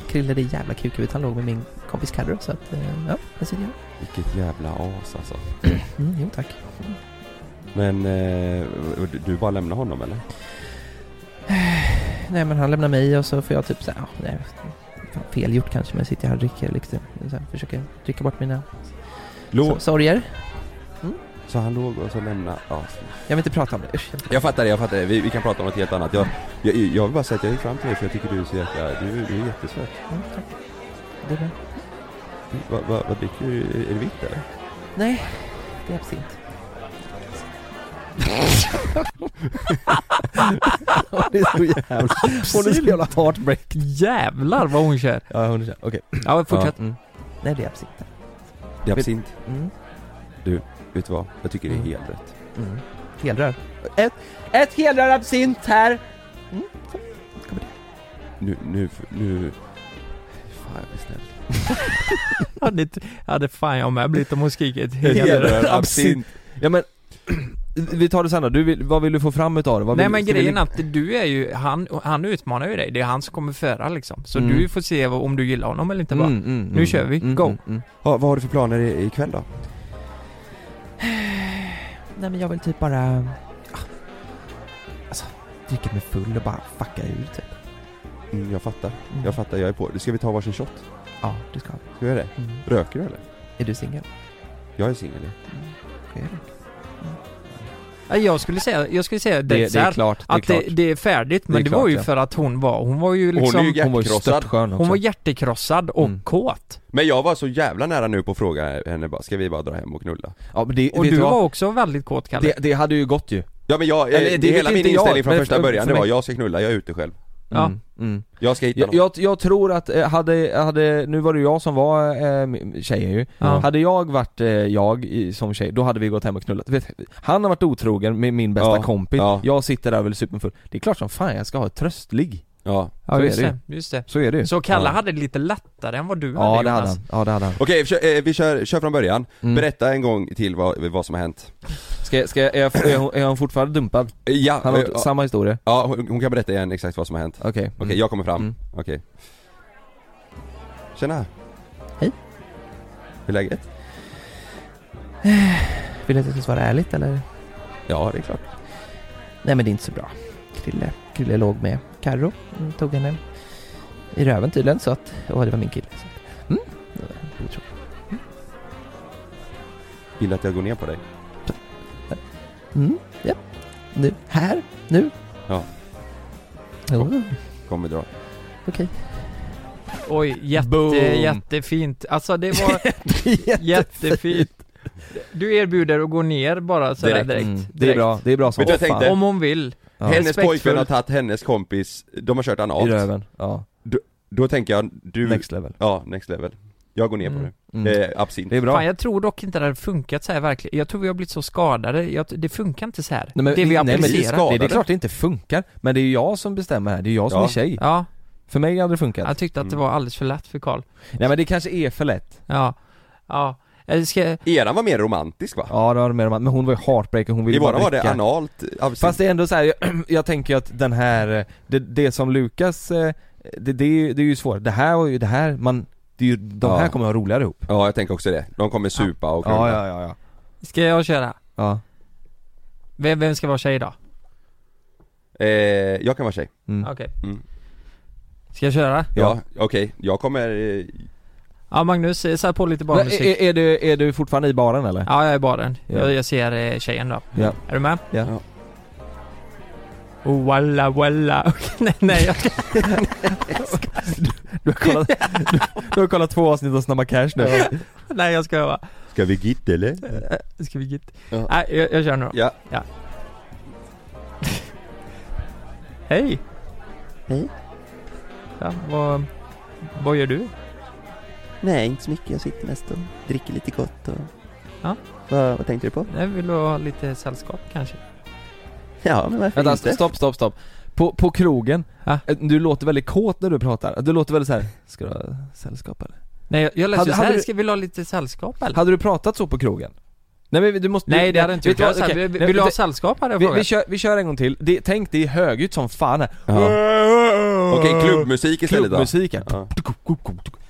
E: Krille det jävla kukhuvudet, han låg med min kompis Carro så att, eh, ja, där sitter jag.
A: Vilket jävla as alltså.
E: Mm, jo tack.
A: Men eh, du, du bara lämnar honom eller?
E: Nej men han lämnar mig och så får jag typ såhär, ja, nej, fan, fel gjort kanske men sitter jag här och dricker liksom. Så här, försöker dricka bort mina
A: Lå,
E: so- sorger.
A: så han låg och så lämnade... Ja.
E: Jag vill inte prata om det, usch. jag vill inte-
A: Jag fattar det, jag fattar det. Vi, vi kan prata om något helt annat. Jag, jag, jag vill bara säga att jag gick fram till dig för jag tycker du är så jäkla... Du, du är jättesöt.
E: Mm, tack. Det är bra.
A: Vad va, vad dricker du? Är det vitt eller?
E: Nej, det är absint.
B: Det är så jävla... Hon är så jävla heartbreak.
C: Jävlar vad hon kör!
B: Ja, hon är tjej. Okej.
C: Ja, fortsätt.
B: Ja, mm.
E: Nej det är absint.
A: Det är absint.
E: Mm.
A: Vet du vad? Jag tycker det är
E: Mm.
A: helt rätt.
E: Mm. Helrör. Ett, ett helrör absint här! Mm. så. Kommer det.
A: Nu, nu, nu... Fan jag blir snäll.
C: Hade, inte- hade fan jag med blivit om hon skrikit
B: Hedrör,
A: Hedrör,
B: absint. Ja men, vi tar det sen då. Du vill, vad vill du få fram utav det? Vad
C: Nej
B: vill,
C: men
B: ska vi
C: grejen är
B: ligga-
C: att du är ju, han, han utmanar ju dig, det är han som kommer föra liksom. Så
B: Mm.
C: du får se vad- om du gillar honom eller inte bara.
B: Mm, mm,
C: Nu kör vi. Go.
B: mm.
A: Ja, vad har du för planer i- ikväll då?
E: Nej men jag vill typ bara... ah, Alltså, dricka mig full och bara fucka ur typ.
A: Mm, jag fattar.
E: Mm.
A: Jag fattar, jag är på. Ska vi ta varsin shot?
E: Ja, du ska.
A: Ska vi göra det?
E: Mm.
A: Röker du eller?
E: Är du singel?
A: Jag är singel ja.
E: Ska jag göra
C: Nej, Jag skulle säga, jag skulle säga
B: Det, det är
C: dessert.
B: klart, det är
C: Att det,
B: klart.
C: det är färdigt, men
B: Det
C: det,
B: är
C: var
B: klart,
C: ju
B: ja.
C: för att hon var, hon var ju
A: Hon
C: liksom
A: är ju
B: Hon var ju
A: hjärtkrossad.
B: störtskön också.
C: Hon var hjärtekrossad och
B: Mm.
C: kåt.
A: Men jag var så jävla nära nu på att fråga henne bara, ska vi bara dra hem och knulla?
B: Ja, men det,
C: Och
B: vet
C: du
B: du vad?
C: var också väldigt kåt Kalle.
B: Det, det hade ju gått ju.
A: Ja men jag, eh,
B: Eller, det
A: det är
B: vet
A: hela min
B: inte jag,
A: inställning från
B: men
A: första
B: för-
A: början
B: för
A: det var
B: mig-
A: jag ska knulla, jag är ute själv.
C: Ja.
B: Mm, mm.
A: Jag ska hitta
B: Jag,
A: någon.
B: jag, jag tror att, eh, hade, hade, nu var det jag som var eh, tjejen ju
C: Ja.
B: Hade jag varit eh, jag i, som tjej, då hade vi gått hem och knullat Vet, Han har varit otrogen med min bästa
A: Ja,
B: kompis,
A: ja.
B: jag sitter där och är superfull Det är klart som fan jag ska ha ett tröstligg,
A: Ja.
C: Ja,
B: Så
C: just
B: är det
C: det, just det.
B: så är det ju
C: Så Kalle
A: Ja.
C: hade det lite lättare än vad du
B: Ja
C: hade
B: det hade
C: Jonas.
B: han, ja det hade han
A: Okej, vi kör, eh, vi kör, kör från början.
B: Mm.
A: Berätta en gång till vad, vad som har hänt.
B: Ska, jag- ska, jag- är, jag- är, hon, är hon fortfarande dumpad?
A: Eh, Ja,
B: Han har
A: eh,
B: varit, samma historia?
A: ja hon, hon kan berätta igen exakt vad som har hänt. Okej,
B: Okej mm.
A: jag kommer fram.
B: Mm.
A: Okej. Tjena.
E: Hej.
A: Hur är läget?
E: Vill du att jag ska svara ärligt eller?
A: Ja, det är klart.
E: Nej men det är inte så bra. Krille, Krille låg med Carro. Mm, Tog henne i röven tydligen så att, åh det var min kille. Så. att, Mm. det var otroligt.
A: Vill du att jag går ner på dig?
E: Mm, ja. Nu, här, nu.
A: Ja.
E: Jo,
A: Kommer dra.
E: okej.
C: Oj, jätte,
B: Boom.
C: jättefint. Alltså det var jättefint. Du erbjuder att gå ner bara sådär direkt. direkt.
B: Mm. Det är bra, det är bra som
A: Vet du vad jag
B: fan.
A: tänkte?
C: Om hon vill.
B: Ja.
A: Hennes
C: Respektfull.
A: pojkvän har tagit hennes kompis, de har kört
B: I
A: analt.
B: röven, ja,
A: Då tänker jag, du...
B: next level
A: Ja, next level. Jag går ner på
C: Mm.
A: det.
B: mm.
A: Eh, absint.
B: Det är bra
C: Fan jag tror dock inte det hade funkat så här verkligen. Jag tror vi har blivit så skadade. Jag, det funkar inte så här.
B: Nej, men-
C: det vi
B: nej, men det är
C: applicerar.
A: skadade.
B: Nej, det är klart det inte funkar, men det är ju jag som bestämmer här, det är jag som
A: Ja.
B: är tjej
C: ja,
B: För mig hade det funkat
C: jag tyckte att
B: Mm.
C: det var alldeles för lätt för Karl.
B: Nej men det kanske är för lätt
C: Ja, ja. Jag ska,
A: Eran var mer romantisk va?
B: Ja det har du med om att- men hon var ju heartbreaker, hon
A: I
B: ville bara
A: våra var det
B: dricka.
A: analt, absint.
B: Fast det är ändå så här, jag, jag tänker ju att den här, eh, det, det som Lukas, eh, det, det, är ju- det är ju svårt, det här var ju, det här, man, det är ju, de
A: Ja.
B: här kommer ha roligare ihop
A: Ja, jag tänker också det. De kommer supa och knulla.
B: Ja ja ja ja,
C: ska jag köra?
B: ja.
C: Vem, vem ska vara tjej då?
A: Eh, jag kan vara tjej.
B: Mm.
C: Okej.
A: Mm.
C: Ska jag köra?
A: Ja, okej. Jag kommer... Eh,
C: Ja Magnus, eh, sätt på lite
B: Men, är,
C: barnmusik.
B: är, är, du, är du fortfarande i baren eller?
C: Ja, jag är i baren.
B: Ja.
C: Jag, jag ser eh, tjejen då.
B: Ja.
C: Är du med?
B: Ja.
A: Ja.
C: Oh, walla walla. Okej, nej, nej. Jag,
B: Du, har kollat, du, du har kollat två avsnitt av Snabba Cash nu
C: nej, jag ska vara.
A: ska vi gitt eller?
C: Eh, Ska vi gitt?
A: Ja.
C: Nej, jag, jag kör nu då.
A: Ja.
C: Hej!
E: Hej.
C: Ja, vad, vad gör du?
E: Nej, inte så mycket. Jag sitter mest och dricker lite gott och...
C: Ja.
E: Vad, vad tänkte du på?
C: Jag vill ha lite sällskap kanske.
E: Ja, men varför
B: Vänta, stopp, stopp, stopp. På, på krogen,
C: Ja.
B: eh, du låter väldigt kåt när du pratar. Du låter väldigt så här. ska du ha sällskap eller?
C: Nej, jag, jag läste
B: Hade-
C: ju så här,
B: hade du-
C: ska vi ha lite sällskap eller?
B: Hade du pratat så på krogen? Nej men du måste...
C: Nej, det hade jag inte
B: vet
C: gjort.
B: du
C: Jag
B: vad?
C: sa,
B: Okej,
C: vill,
B: nej,
C: vill du ha
B: vi-
C: sällskap hade jag
B: vi, vi,
C: frågat.
B: kör, vi kör en gång till. Det, tänk det är högljutt som fan här.
A: Ja. Okej, klubbmusik istället då.
B: Klubbmusik här.
A: Ja.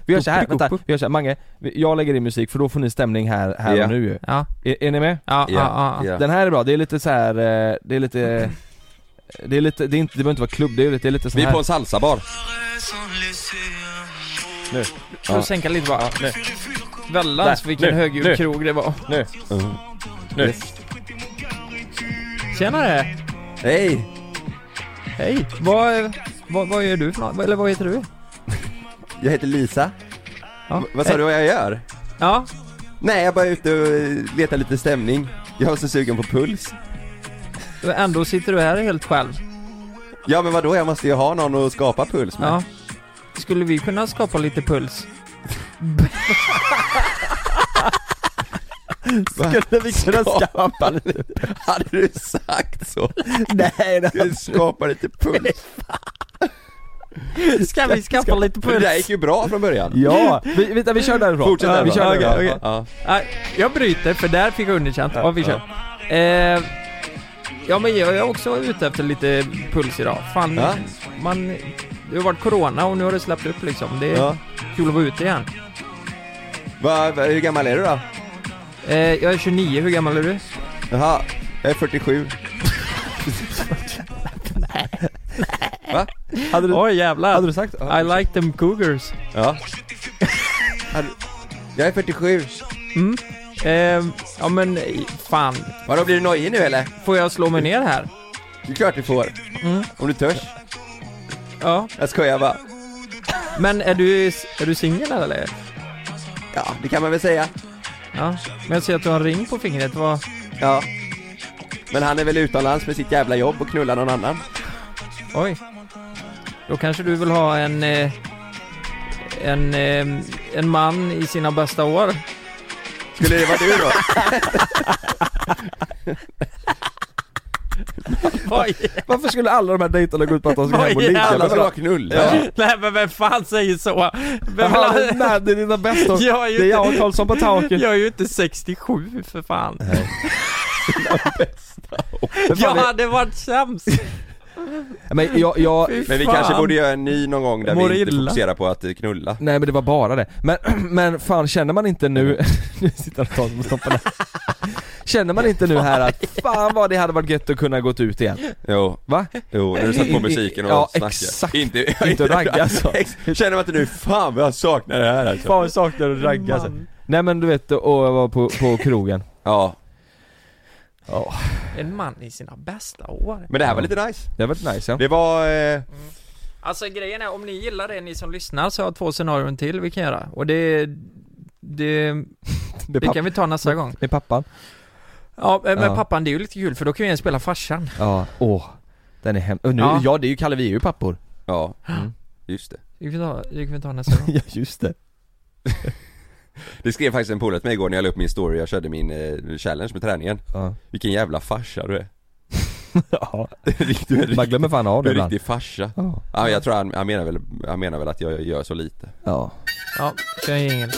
B: Vi gör så här, vänta. Vi gör så här, Mange, vi- jag lägger in musik för då får ni stämning här, här
A: Ja.
B: och nu ju.
C: Ja,
B: Är, är ni med?
C: ja, ja. ja,
A: Ja.
B: Den här är bra, det är lite så här. eh, det är lite... Det är lite, det, är inte, det behöver inte vara klubb, det är lite, det är lite sån
A: Vi är
B: här.
A: på en salsabar.
C: Får
A: Ja.
C: sänka lite bara. Vällans
B: Där,
C: vilken
B: nu,
C: högljudd
B: nu.
C: krog det var.
B: Nu.
A: Nu.
C: Tjenare!
A: Hej!
C: Hej! Vad, vad, vad gör du för något? Eller vad heter du?
A: Jag heter Lisa.
C: Ja.
A: V- Vad sa du vad jag gör?
C: Ja,
A: Nej, jag bara är ute och eh, letar lite stämning. Jag var så sugen på puls.
C: ändå sitter du här helt själv.
A: Ja men vadå, jag måste ju ha någon att skapa puls med.
C: Ja. Skulle vi kunna skapa lite puls?
B: Skulle vi kunna skapa lite
A: Hade du sagt så?
B: Nej det
A: Du skapar lite puls.
C: Ska vi skaffa lite
A: För det
C: puls?
A: där gick ju bra från början.
B: Ja! Vi, vänta, vi kör därifrån.
A: Fortsätt
B: ja,
A: där
B: vi
A: då.
B: kör
A: Ja,
B: därifrån.
A: okej,
B: Ja.
A: okej.
C: Nej, jag bryter för där fick jag underkänt. Ja, vi kör. Eh, ja men jag är också ute efter lite puls idag. Fan,
A: Ja.
C: man... Det har varit corona och nu har det släppt upp liksom. Det är
A: Ja.
C: kul att vara ute igen.
A: Va, va, hur gammal är du då?
C: Eh, jag är 29, hur gammal är du?
A: Jaha, jag är 47. Va?
B: Hade, du,
C: Oj jävlar.
B: hade du sagt?
C: I like them cougars.
A: Ja. Hade- Jag är 47.
C: Mm. Eh, ja men fan,
A: Vadå, blir du nojig nu eller?
C: får jag slå mig ner här?
A: Det är klart du får.
C: Mm.
A: Om du törs.
C: Ja.
A: Jag skojar bara.
C: Men är du, är du singel eller?
A: Ja, det kan man väl säga.
C: Ja. Men jag ser att du har en ring på fingret. Vad...
A: Ja. Men han är väl utomlands med sitt jävla jobb och knullar någon annan.
C: Oj. Då kanske du vill ha en, eh, en, eh, en man i sina bästa år?
A: Skulle det vara du då?
C: Oj,
B: Varför skulle alla de här dejterna gå ut på att de ska
C: Vad
B: hem och ligga
A: Jävlar
B: med
A: vad bra
B: varandra?
A: knull!
C: Nej men vem fan säger så? Vem
B: Jaha,
C: vill ha...
B: nej, det är dina bästa
C: Jag är ju
B: Det är jag och
C: inte-
B: Karlsson på taket.
C: Jag är ju inte 67 för fan.
B: Men
C: Jag
B: fan, det-
C: hade varit sämst.
B: Men jag, jag,
C: Fy
A: Men vi
C: fan.
A: kanske borde göra en ny någon gång där
C: Mår
A: vi inte
C: illa.
A: fokuserar på att eh, knulla
B: nej men det var bara det. Men, men fan känner man inte nu, nu sitter han och tar på stopparna. Känner man inte nu här att fan vad det hade varit gött att kunna gått ut igen?
A: Jo,
B: Va?
A: jo, när du satt på musiken och
B: Ja,
A: snackade
B: exakt.
A: Inte,
B: Inte ragga alltså.
A: Ex- Känner man inte nu, fan vad jag saknar det här alltså
B: Fan vad jag saknar att ragga alltså.
C: Man.
B: Nej men du vet, och jag var på, på krogen.
A: Ja,
B: Ja,
C: En man i sina bästa år.
A: men det här var lite nice
B: det var varit nice ja.
A: Det var, eh,
C: Alltså grejen är, om ni gillar det ni som lyssnar så har jag två scenarion till vi kan göra. Och det... Det,
B: Med,
C: det
B: papp,
C: kan vi ta nästa gång.
B: med pappan.
C: Ja, men
B: Ja.
C: pappan det är ju lite kul för då kan vi igen spela farsan.
B: Ja, åh. Den är hem... och nu, ja.
C: Ja.
B: det är ju Kalle, vi är ju pappor.
A: ja,
B: Mm.
A: just det
C: Det kan vi ta, det kan vi ta nästa gång.
B: ja just det.
A: Det skrev faktiskt en polare till mig igår när jag la upp min story, jag körde min eh, challenge med träningen
B: Ja.
A: Vilken jävla farsa du är
B: ja.
A: Rikt- Du är en
B: Man
A: riktig-
B: glömmer fan av
A: du
B: det
A: är en
B: ibland.
A: riktig farsa
B: Ja.
A: Ja, jag tror han, han menar väl, han menar väl att jag gör så lite
B: ja.
C: Ja, kör en jingel.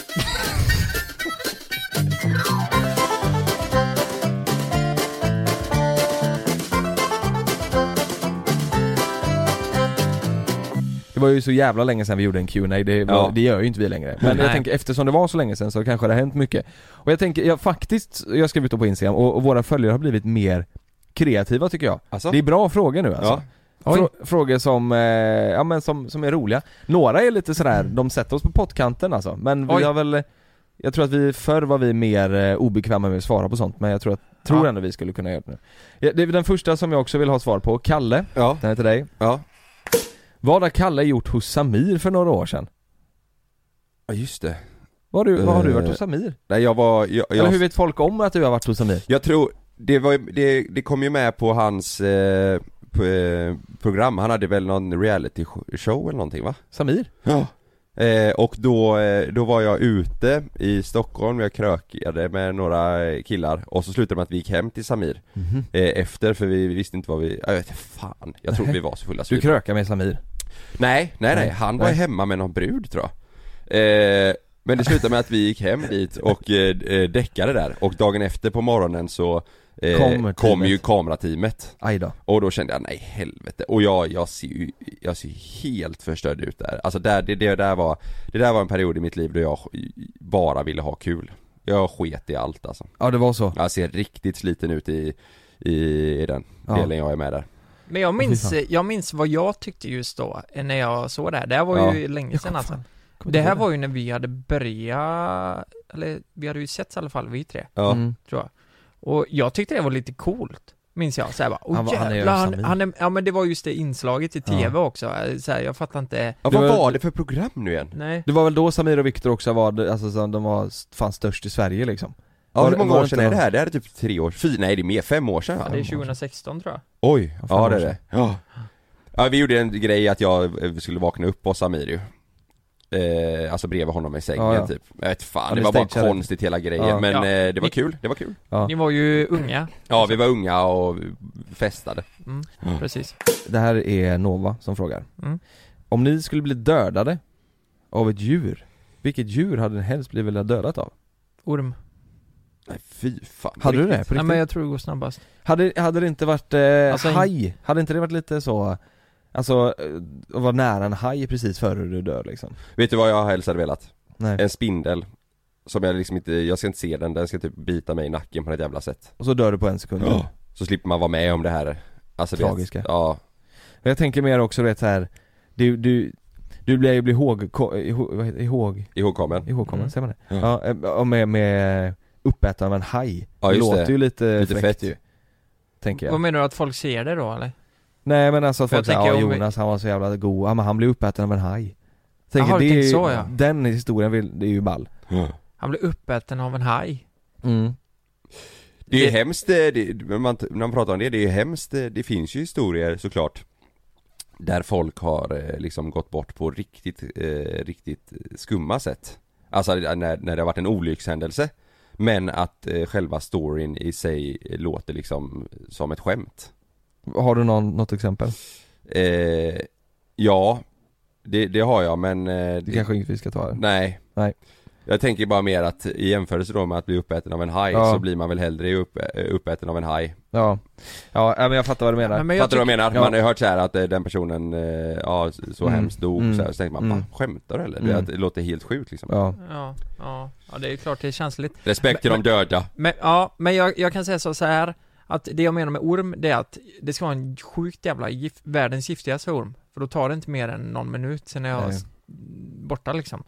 B: Det var ju så jävla länge sedan vi gjorde en Q&A det, var,
A: Ja.
B: det gör ju inte vi längre. Men jag
C: Nej.
B: tänker eftersom det var så länge sedan så kanske det har hänt mycket. Och jag tänker, jag faktiskt, jag skrev ut det på Instagram och, och våra följare har blivit mer kreativa tycker jag.
A: Alltså?
B: Det är bra frågor nu alltså.
A: Ja,
B: Frå frågor som, eh, ja men som, som är roliga. Några är lite sådär, de sätter oss på pottkanten alltså. Men vi
C: Oj.
B: har väl, jag tror att vi, förr var vi mer eh, obekväma med att svara på sånt men jag tror, att, tror
C: Ja.
B: ändå vi skulle kunna göra det nu. Ja, det är den första som jag också vill ha svar på, Kalle,
A: ja,
B: den är till dig.
A: ja,
B: Vad har Kalle gjort hos Samir för några år sedan?
A: ja just det
B: Vad har du, vad har du
A: Eh,
B: varit hos Samir?
A: Nej jag var, jag, jag
B: Eller hur vet folk om att du har varit hos Samir?
A: Jag tror, det, var, ju- det, det kom ju med på hans eh, p- eh, program, han hade väl någon reality sh- show eller någonting va?
B: Samir?
A: Ja eh, Och då, eh, då var jag ute i Stockholm, jag krökade med några eh, killar och så slutade det med att vi gick hem till Samir eh, efter för vi visste inte vad vi, jag vet inte, fan, jag trodde
B: Nej.
A: vi var så fulla så
B: Du
A: vi-
B: krökar med Samir?
A: Nej, nej nej,
B: Nej.
A: han var
B: Nej.
A: hemma med någon brud tror jag eh, Men det slutade med att vi gick hem dit och eh, eh, däckade där och dagen efter på morgonen så eh,
B: Kommer teamet.
A: kom ju kamerateamet
B: Aj då.
A: Och då kände jag, nej helvete, och jag, jag ser ju, jag ser helt förstörd ut där Alltså där, det, det där var, det där var en period i mitt liv då jag bara ville ha kul Jag sket i allt alltså
B: Ja det var så.
A: Jag ser riktigt sliten ut i, i, i den
B: Ja.
A: delen jag är med där
C: Men jag minns,
B: Fy
C: jag minns vad jag tyckte just då, eh, när jag såg det här. Det här var ju länge sedan alltså.
B: Kommer
C: Det
B: inte
C: här
B: ihåg
C: var ju när vi hade börjat, eller vi hade ju sett i alla fall, vi tre,
A: Ja,
B: Mm.
C: tror jag. Och jag tyckte det var lite coolt, minns jag. Såhär bara, åh
B: Han var- han är ju
C: jävlar,
B: Samir.
C: han, han är, ja men det var just det inslaget i
B: Ja.
C: tv också. Såhär, jag fattar inte,
A: ja
B: Det
A: vad
B: var-
A: var det för program nu igen?
C: nej.
B: Det var väl då Samir och Viktor också var, alltså så de var s- fan störst i Sverige liksom?
A: Ja,
B: Var-
A: hur många
B: var
A: år
B: det
A: sedan
B: inte
A: är det
B: någon-
A: här? Det här är typ tre år, fyra, nej det är mer, fem år sedan
C: Ja, det är 2016 tror jag.
A: Oj,
B: Ja, fem
A: ja det
B: år
A: är
B: sedan.
A: det. Ja. ja, vi gjorde en grej att jag eh, skulle vakna upp hos Samir ju. Eh, alltså bredvid honom i sängen
B: Ja, ja.
A: typ. Jag vet fan,
B: Ja,
A: det
B: det
A: var bara
B: stageade.
A: konstigt hela grejen
B: Ja.
A: men
C: Ja.
A: eh, det var
C: Ni-
A: kul, det var kul.
B: Ja.
C: Ni var ju unga,
A: Ja, vi var unga och festade.
C: mm,
A: Ja.
C: precis.
B: Det här är Nova som frågar
C: Mm.
B: Om ni skulle bli dödade av ett djur, vilket djur hade ni helst blivit velat dödat av?
C: Orm.
A: Nej fy fan.
B: Hade du det? På
C: Nej
B: riktigt?
C: men jag tror det går snabbast.
B: hade, hade det inte varit eh,
C: Alltså, en-
B: haj? Hade inte det varit lite så, alltså, eh, att vara nära en haj precis före du dör liksom?
A: Vet du vad jag helst hade velat?
B: Nej.
C: Eh.
A: En spindel. Som jag liksom inte, jag ska inte se den, den ska typ bita mig i nacken på något jävla sätt.
B: Och så dör du på en sekund
A: Ja. Så slipper man vara med om det här. Alltså, du vet,
B: Tragiska.
A: Ja,
B: Men jag tänker mer också du vet så här. du, du, du blir ju bli ihåg, ko- ihåg, vad heter- ihåg
A: ihågkommen.
B: ihågkommen,
C: Mm.
B: säger man det?
A: Ja.
B: Ja, eh, och med, med uppätande av en haj
A: Ja,
B: Det
A: just
B: låter
A: det.
B: ju lite,
A: Lite
B: fräckt
A: fett.
B: ju Tänker
C: Vad
B: jag
C: menar du, att folk ser det då eller?
B: Nej men alltså att
C: För
B: folk
C: jag
B: säger ja
C: tänker om vi-
B: Jonas han var så jävla god, ja men han blev uppäten av en haj Tänker
C: Jaha, du
B: det är
C: tänker
B: ju,
C: så, ja.
B: den historien vill, det är ju ball
C: Han blev uppäten av en haj.
B: mm.
A: Det är ju
C: Det-
A: hemskt, eh, det, när man, när man pratar om det, det är ju hemskt, eh, det finns ju historier såklart Där folk har eh, liksom gått bort på riktigt, eh, riktigt skumma sätt Alltså när, när det har varit en olyckshändelse Men att eh, själva storyn i sig låter liksom som ett skämt
B: Har du någon, något exempel?
A: eh, Ja det, det har jag men eh,
B: Det
A: det,
B: kanske inte vi ska ta här
A: Nej
B: Nej.
A: Jag tänker bara mer att i jämförelse då med att bli uppäten av en haj
B: Ja.
A: så blir man väl hellre upp, eh, uppäten av en haj
B: Ja, ja äh, men jag fattar vad du menar
C: Nej, men jag
A: Fattar du vad jag menar?
B: ja.
A: Man har ju hört så här att eh, den personen, eh, ja så så
B: Mm.
A: hemskt dog
B: Mm.
A: så, här, så tänker man,
B: Mm.
A: "Fan, skämtar du eller?
B: Mm.
A: Det, att det låter helt sjukt liksom
B: Ja,
C: Ja, ja, ja det är ju klart det är känsligt.
A: Respekt till de döda
C: Men ja, men jag, jag kan säga så, så här att det jag menar med orm, det är att det ska vara en sjukt jävla gift, världens giftigaste orm. För då tar det inte mer än någon minut, sen är jag
B: Nej.
C: s- borta liksom.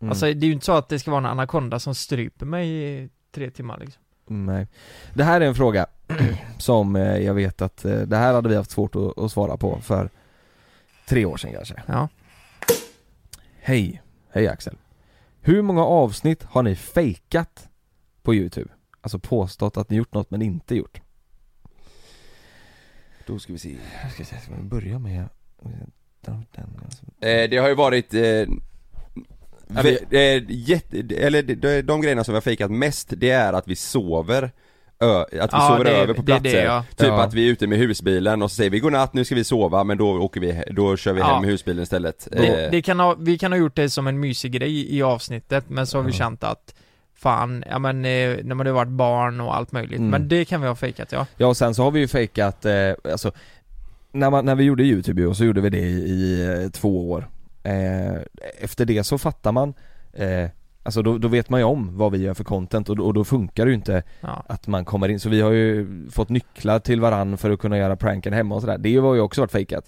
B: mm.
C: Alltså det är ju inte så att det ska vara en anakonda som stryper mig i tre timmar liksom.
B: nej Det här är en fråga som eh, jag vet att eh, det här hade vi haft svårt att, att svara på för tre år sedan kanske
C: Ja.
B: Hej, hej Axel Hur många avsnitt har ni fejkat på youtube? Alltså påstått att ni gjort något men inte gjort
A: Då ska vi se
B: Jag ska se, ska vi börja med den, alltså.
A: eh, Det har ju varit eh, ve- eh, jätte, eller de, de, de grejerna som vi har fejkat mest det är att vi sover ö, Att vi
C: Ja,
A: sover
C: det-
A: över på
C: det är
A: platser
C: det, ja.
A: Typ
B: Ja.
A: att vi är ute med husbilen och så säger vi godnatt, nu ska vi sova men då åker vi, he- då kör vi
C: Ja.
A: hem med husbilen istället
C: Det,
A: Eh,
C: det kan ha, vi kan ha gjort det som en mysig grej i avsnittet, men så har vi
B: Ja.
C: känt att Fan, ja men eh, när man har varit barn och allt möjligt,
B: Mm.
C: men det kan vi ha fejkat ja.
B: Ja och sen så har vi ju fejkat, eh, alltså när, man, när vi gjorde youtube ju, så gjorde vi det i, i eh, två år eh, Efter det så fattar man, eh, alltså då, då vet man ju om vad vi gör för content och, då- och då funkar det ju inte
C: ja.
B: att man kommer in, så vi har ju fått nycklar till varann för att kunna göra pranken hemma och sådär, det har ju också varit fejkat,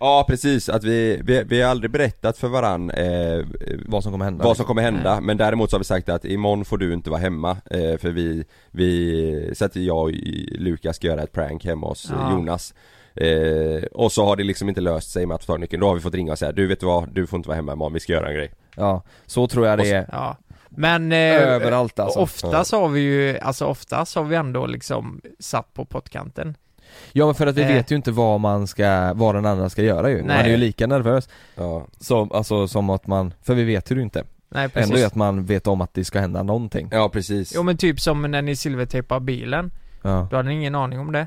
A: Ja precis, att vi, vi, vi har aldrig berättat för varann eh,
B: vad som kommer hända
A: vad som kommer hända, men däremot så har vi sagt att imorgon får du inte vara hemma eh, för vi, vi, så att jag och Lukas ska göra ett prank hemma hos eh,
C: Ja.
A: Jonas eh, Och så har det liksom inte löst sig med att få tag i nyckeln, då har vi fått ringa och säga du vet vad, du får inte vara hemma imorgon, vi ska göra en grej
B: Ja, så tror jag det är
C: ja. Men eh,
B: överallt alltså
C: ofta så har vi ju, alltså ofta så har vi ändå liksom satt på pottkanten.
B: Ja men för att vi
C: Eh.
B: vet ju inte vad man ska, vad den andra ska göra ju, man
C: Nej.
B: är ju lika nervös
A: ja.
B: som, alltså som att man, för vi vet ju det inte
C: Nej
B: Ändå är
C: precis.
B: att man vet om att det ska hända någonting
A: ja precis
C: Jo men typ som när ni silvertejpade bilen,
B: ja.
C: då hade ni ingen aning om det.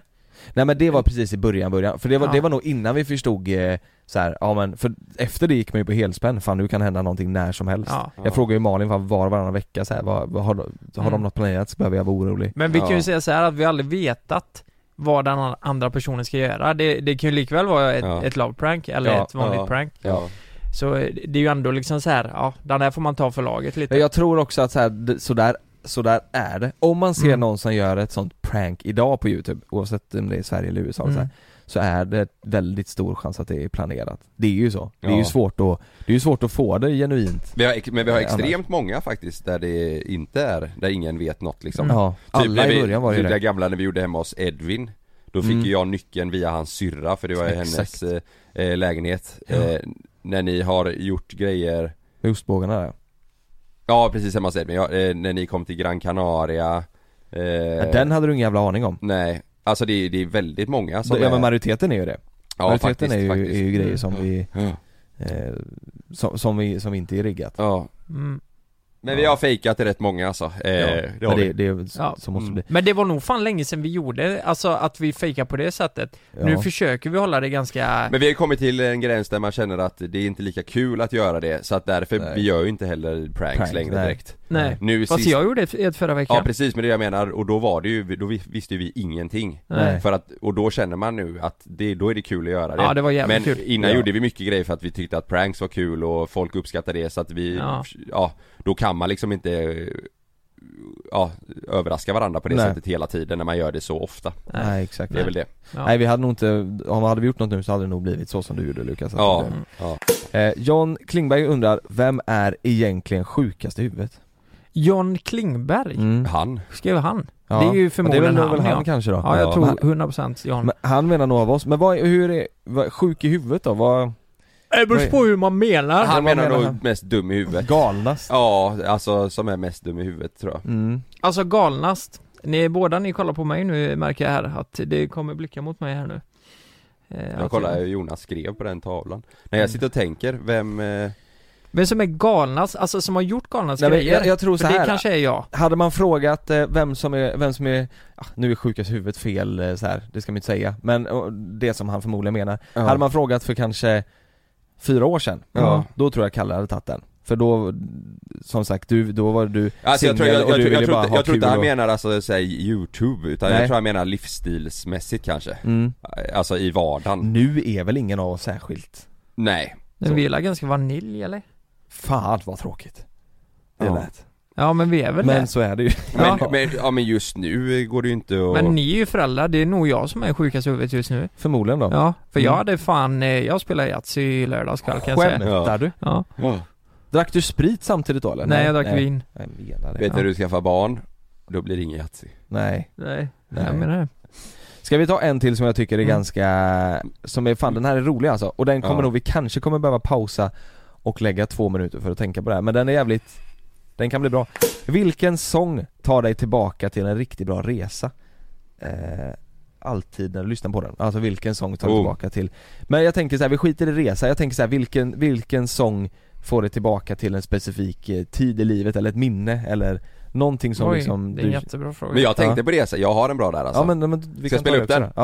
B: Nej men det var precis i början, början, för det var,
C: Ja.
B: det var nog innan vi förstod eh, så här, ja men för efter det gick man ju på helspänn, fan nu kan hända någonting när som helst
C: Ja.
B: Jag frågar ju Malin fan, var och varannan vecka så här, vad, vad, har, de- har
C: Mm.
B: de något planerat så behöver jag vara orolig
C: Men vi kan ju
A: Ja.
C: säga så här att vi har aldrig vetat vad den an- andra personen ska göra. Det, det kan ju likväl vara ett,
A: Ja.
C: ett love prank eller
B: Ja,
C: ett vanligt
A: ja.
C: prank.
A: ja.
C: Så eh, det är ju ändå liksom så här, ja, den här får man ta för laget lite.
B: Ja, Jag tror också att så här, d- så där, så där är det. Om man ser
C: Mm.
B: någon som gör ett sånt prank idag på youtube, oavsett om det är i Sverige eller USA
C: Mm.
B: så, här, så är det väldigt stor chans att det är planerat Det är ju så, det är ju
A: Ja.
B: svårt att, det är ju svårt att få det genuint
A: Vi har, ex- men vi har
B: Eh, annars.
A: extremt många faktiskt där det inte är, där ingen vet något liksom
C: Mm.
B: Ja, alla
A: när
B: i
A: vi-
B: början var ju
A: typ
B: det
A: det gamla när vi gjorde hemma hos Edvin Då fick
B: Mm.
A: ju jag nyckeln via hans syrra för det var ju
B: Exakt.
A: hennes eh, eh, lägenhet
B: Ja.
A: eh, När ni har gjort grejer
B: Med ostbågarna där
A: Ja precis hemma hos Edvin, ja, eh, när ni kom till Gran Canaria eh,
B: Men Den hade du ingen jävla aning om.
A: Nej, alltså det, är- det är väldigt många som
B: ja men
A: är,
B: majoriteten är ju det.
A: Alltså, eh, ja,
B: majoriteten är, ju,
A: faktiskt.
B: är ju grejer som
A: Mm.
B: vi,
A: Ja.
B: eh, som, som vi, som inte är riggat.
A: Ja.
C: Mm.
A: Men
B: Ja.
A: vi har fejkat rätt många alltså eh,
B: Ja,
A: det
B: men
A: har
B: det,
A: vi.
B: det är så,
C: Ja. mm.
B: så måste det bli.
C: Men det var nog fan länge sedan vi gjorde, alltså att vi fejkar på det sättet.
B: Ja.
C: Nu försöker vi hålla det ganska...
A: Men vi har kommit till en gräns där man känner att det är inte lika kul att göra det så att därför,
B: Nej.
A: vi gör ju inte heller pranks
B: Pranks,
A: längre
B: nej.
A: direkt
C: Nej.
A: Nu
C: Fast
A: sist
C: jag gjorde ett, ett förra veckan.
A: Ja precis, men det jag menar, och då var det ju, då vi- visste ju vi ingenting
B: Nej.
A: För att, och då känner man nu att det, då är det kul att göra det
C: Ja, det var jävligt
A: Men
C: kul.
A: innan
B: Ja.
A: gjorde vi mycket grejer för att vi tyckte att pranks var kul och folk uppskattade det så att vi,
C: Ja.
A: ja, då kan man liksom inte eh, Ja, överraska varandra på det
B: Nej.
A: sättet hela tiden när man gör det så ofta
C: Nej.
B: Nej exakt.
A: Det är väl det
C: Ja.
B: Nej vi hade nog inte, om vi hade gjort något nu så hade det nog blivit så som du gjorde Lukas. att
A: Ja,
B: det-
A: ja.
B: Eh, John Klingberg undrar, vem är egentligen sjukast i huvudet?
C: John Klingberg,
B: Mm.
A: Han
C: skrev han?
B: Ja.
C: Det är ju
B: Men det är
C: förmodligen
B: väl,
C: han,
B: väl han
C: ja.
B: kanske då?
C: Ja, jag
A: Ja,
C: tror
B: men-
C: 100% John.
B: Men han menar nog av oss, men vad, hur är, vad, sjuk i huvudet då? Vad,
C: Det beror på hur man menar.
A: Han
B: vad
A: menar
B: menar
A: nog
B: han?
A: mest dum i huvudet
B: galnast?
A: Ja, alltså som är mest dum i huvudet tror jag
B: Mm.
C: Alltså galnast, ni båda ni kollar på mig nu märker jag här att det kommer blickar mot mig här nu Eh,
A: Jag
C: att-
A: kollar hur Jonas skrev på den tavlan När jag sitter och tänker, vem... eh,
C: Vem som är galnast, alltså som har gjort galnast
B: Nej, men
C: grejer?
B: jag, jag tror så
C: För det
B: här.
C: kanske är jag.
B: Hade man frågat eh, vem som är, vem som är, ah, nu är sjukas huvudet fel eh, så här, det ska man inte säga, men eh, det som han förmodligen menar.
A: Ja.
B: Hade man frågat för kanske fyra år sedan,
A: Ja.
B: då tror jag Kalle hade tagit den. För då, som sagt, du, då var du
A: Alltså jag tror,
B: singel
A: jag, jag,
B: och du
A: tror- jag,
B: ville
A: tror
B: bara
A: inte-
B: ha
A: jag tror
B: kul
A: inte han
B: och...
A: menar alltså säg youtube, utan
B: Nej.
A: jag tror han menar livsstilsmässigt kanske
B: Mm.
A: Alltså i vardagen
B: Nu är väl ingen av oss särskilt,
A: Nej
C: Men vi är väl ganska vanilj eller?
B: fan vad tråkigt det
A: Ja.
B: lät.
C: Ja men vi är väl
B: Men
C: det.
B: så är det ju.
A: men,
C: Ja.
A: men, ja, men just nu går det ju inte att...
C: Men ni är ju föräldrar, det är nog jag som är sjukast i huvudet just nu.
B: Förmodligen då.
C: Ja, för
B: Mm.
C: jag hade fan, eh, jag spelade Yatzy i lördags kväll kan jag säga.
B: Skämtar du?
C: Ja.
A: Ja.
B: Drack du sprit samtidigt då eller?
C: Nej jag drack vin.
B: Jag menar det.
A: Vet du när du skaffar barn, då blir det ingen Yatzy
B: Nej.
C: Nej,
B: Nej.
C: jag menar det.
B: Ska vi ta en till som jag tycker är
C: Mm.
B: ganska, som är fan den här är rolig alltså och den kommer
A: Ja.
B: nog, vi kanske kommer behöva pausa och lägga två minuter för att tänka på det här men den är jävligt, den kan bli bra. Vilken sång tar dig tillbaka till en riktigt bra resa? Eh, alltid när du lyssnar på den, alltså vilken sång tar dig
A: Oh.
B: tillbaka till? Men jag tänker så här, vi skiter i resa, jag tänker så här, vilken, vilken sång får dig tillbaka till en specifik eh, tid i livet eller ett minne eller någonting som
C: Oj,
B: liksom
C: det är en jättebra fråga.
A: Men jag tänkte
B: Ja.
A: på det, så här, jag har en bra där alltså
B: Ja men, men vi
A: Ska
B: kan
A: jag spela
B: ta
A: upp
B: det
A: den?
B: också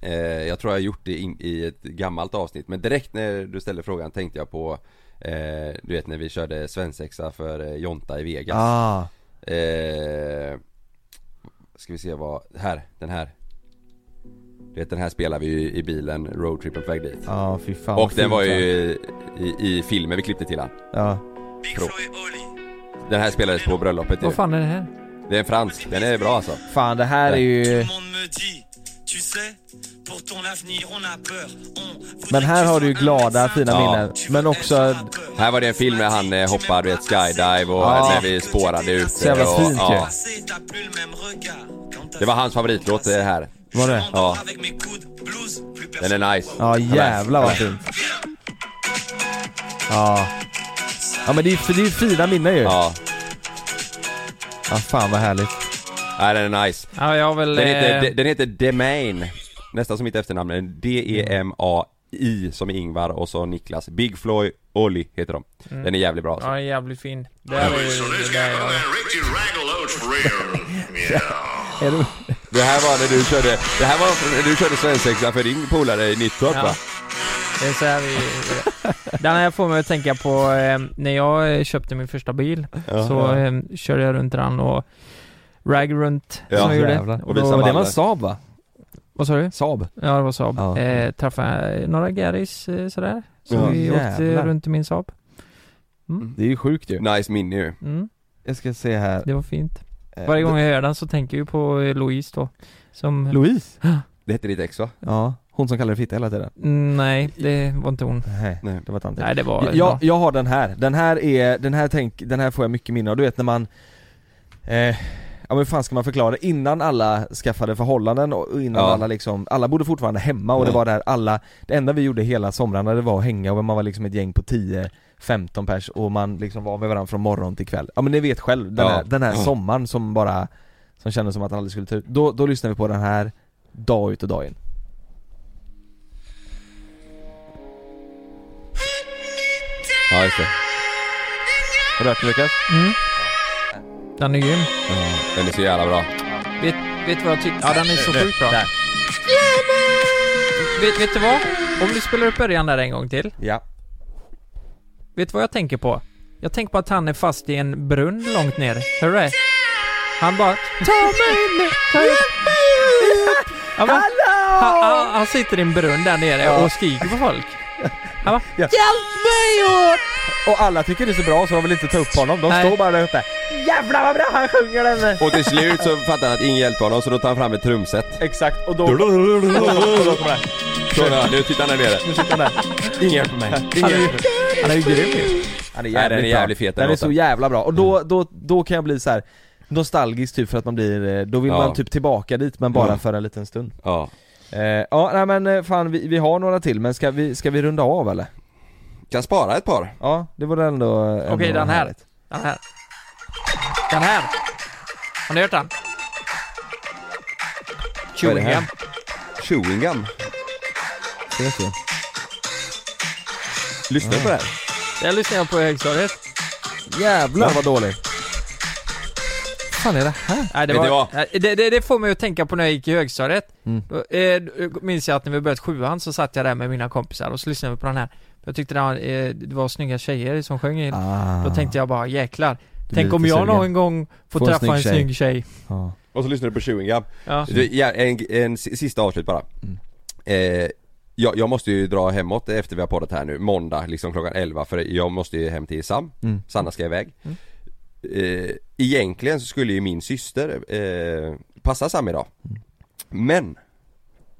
B: då. Ja.
A: eh, Jag tror jag har gjort det in, i ett gammalt avsnitt, men direkt när du ställde frågan tänkte jag på eh, Du vet när vi körde svensexa för eh, Jonta i Vegas
B: Ah.
A: Eh, ska vi se vad, här, den här Du vet den här spelar vi ju i bilen, roadtripen på väg dit
B: Ja, fy fan
A: Och
B: vad
A: den
B: fint,
A: var
B: va?
A: ju i, i filmen vi klippte till han
B: Ja,
A: Den här spelades på bröllopet ju
C: Vad fan är det här?
A: Det är en fransk, den är bra alltså
B: fan det här är ju... Men här har du ju glada, fina
A: Ja.
B: minnen. Men också,
A: Här var det en film med han eh, hoppar, du vet skydive och
B: Ja.
A: när vi spårade ut
B: Så jävla
A: och,
B: fint ju.
A: Det var hans favoritlåt det här
B: var det?
A: Ja Den är nice
B: Ja, jävlar vad fint. Ja. Ja men det är ju det är ju fina minnen ju. Ja.
A: Ja,
B: fan vad härligt.
A: nej, den är nice
C: Ja jag har väl...
A: Den heter,
C: eh,
A: de- den heter Demain Nästan som mitt efternamn, men D-E-M-A-I som är Ingvar och så Niklas Big Floyd Olli heter de Den är jävligt bra
C: mm. Ja,
A: alltså.
C: den är jävligt fin. Det här är ju det där jag...
B: Är du...
A: Det här var när du körde, det här var när du körde svensexa för din polare i Nittorp
C: Ja.
A: va?
C: Det är så här vi... Den här får mig att tänka på eh, när jag eh, köpte min första bil så eh, körde jag runt den och rag runt
A: Ja,
C: som jag gjorde.
B: jävlar.
A: Och
C: då-
A: visa
B: Det var
A: Malmö.
B: en Saab va?
C: Vad sa du?
B: Saab?
C: Ja det var Saab.
B: Ja.
C: Eh, träffade några garris eh, sådär. Så
A: Ja,
C: vi åkte
B: jävlar.
C: runt i min Saab.
B: Det är ju sjukt ju.
A: Nice minne ju
C: Mm,
B: Jag ska se här.
C: det var fint.
B: Eh,
C: Varje
A: Eh,
C: gång jag hör den så tänker jag ju på eh, Louise då. Som...
B: Louise?
A: Det hette ditt ex va?
B: Ja, hon som kallar dig fitta hela tiden.
C: Mm, Nej, det var inte hon.
B: Nej,
A: Nej.
B: det var tanten.
C: Nej det var...
B: jag, jag har den här, den här är, den här tänk, den här får jag mycket minne av, du vet när man eh, Ja men hur fan ska man förklara det? Innan alla skaffade förhållanden och och innan
A: Ja.
B: alla liksom, alla bodde fortfarande hemma och det
A: Ja.
B: var där alla Det enda vi gjorde hela somrarna det var att hänga och man var liksom ett gäng på 10-15 pers och man liksom var med varandra från morgon till kväll Ja Mm. men ni vet själv, den
A: Ja.
B: här, den här
A: Ja.
B: sommaren som bara Som kändes som att den aldrig skulle ta ut, då, då lyssnade vi på den här dag ut och dag in
A: Ja just det,
B: Har du hört den Lukas?
C: Mm. Den är grym.
A: den är så jävla bra
C: Vet, vet du vad jag tycker? Ja, den är så sjukt bra. Vet, vet du vad? Om vi spelar upp början där en gång till.
B: Ja
C: Vet du vad jag tänker på? Jag tänker på att han är fast i en brunn långt ner. Hör du det? Han bara Ta mig in! Ta mig in! Han, bara, han, han, han sitter i en brunn där nere och skriker på folk. Han bara,
B: Ja.
C: Hjälp mig! Och...
B: Och alla tycker det är så bra så de vill inte ta upp honom, de
C: Nej.
B: står bara där uppe Jävlar vad bra han sjunger den!
A: Och till slut så fattar han att ingen hjälper honom så då tar han fram ett trumset
B: Exakt, och då... och då kommer det.
A: Så nu tittar han ner nere
B: Nu sitter han där. Ingen hjälper mig. Ingen hjälper mig. Han är ju grym ju. Han är
A: Nej, den är
B: bra.
A: jävligt fet, Mm. den
B: Den är
A: låten.
B: så jävla bra. Och då, då, då kan jag bli så här nostalgisk typ för att man blir, eh, då vill
A: Ja.
B: man typ tillbaka dit men bara
A: Mm.
B: för en liten stund.
A: Ja,
B: Eh, ja nej men eh, fan vi, vi har några till men ska vi, ska vi runda av eller?
A: kan spara ett par
B: Ja, det var ändå... ändå
C: Okej, den här.
B: härligt.
C: Den här. Den här. Har ni hört den?
A: Vad är det
C: Chewing
A: här?
C: gum.
A: Chewing gum
B: Det vet jag.
A: Lyssna på det här.
C: Jag lyssnade på i högstadiet.
B: Jävlar vad dålig.
E: fan är det här?
C: Nej, det,
A: Vet ni
C: var,
A: vad?
C: nej, det, det, det får mig att tänka på när jag gick i högstadiet.
B: Mm.
C: Då, eh, då minns jag att när vi började sjuan så satt jag där med mina kompisar och så lyssnade vi på den här. Jag tyckte det var, eh, det var snygga tjejer som sjöng i den.
B: Ah.
C: Då tänkte jag bara jäklar.
B: Du
C: Tänk
B: blir
C: om
B: lite
C: jag
B: sugen.
C: någon gång får
B: Få en
C: träffa en
B: snygg
C: snygg tjej.
B: Ja.
A: Och så lyssnar du på chewing gum.
C: Ja.
A: Du, ja, en, en si- sista avslut bara.
B: Alltså. Mm.
A: Eh, jag, jag måste ju dra hemåt efter vi har poddat här nu, måndag liksom klockan 11 för jag måste ju hem till Sam.
B: Mm.
A: Sanna ska iväg. Eh, egentligen så skulle ju min syster eh, passa Sam idag.
B: Mm.
A: Men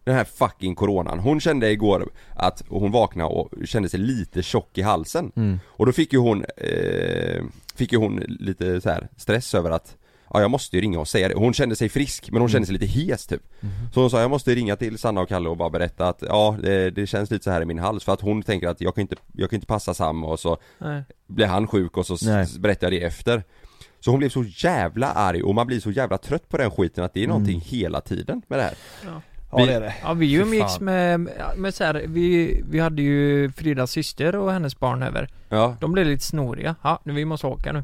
A: den här fucking coronan. Hon kände igår att hon vaknade och kände sig lite tjock i halsen. Och då fick ju hon, eh, fick ju hon lite så här stress över att Ja jag måste ju ringa och säga det. Hon kände sig frisk men hon kände sig lite hes typ. Så hon sa jag måste ringa till Sanna och Kalle och bara berätta att ja det, det känns lite så här i min hals för att hon tänker att jag kan inte, jag kan inte passa Sam och så
C: Nej.
A: blir han sjuk och så
B: Nej.
A: s- berättar jag det efter. Så hon blev så jävla arg och man blir så jävla trött på den skiten att det är någonting hela tiden med det här.
B: Ja det är det.
C: Ja vi
B: Fy
C: umgicks
B: fan.
C: med, med så här, vi, vi hade ju Fridas syster och hennes barn över.
A: Ja.
C: De blev lite snoriga. Ja, nu vi måste åka nu.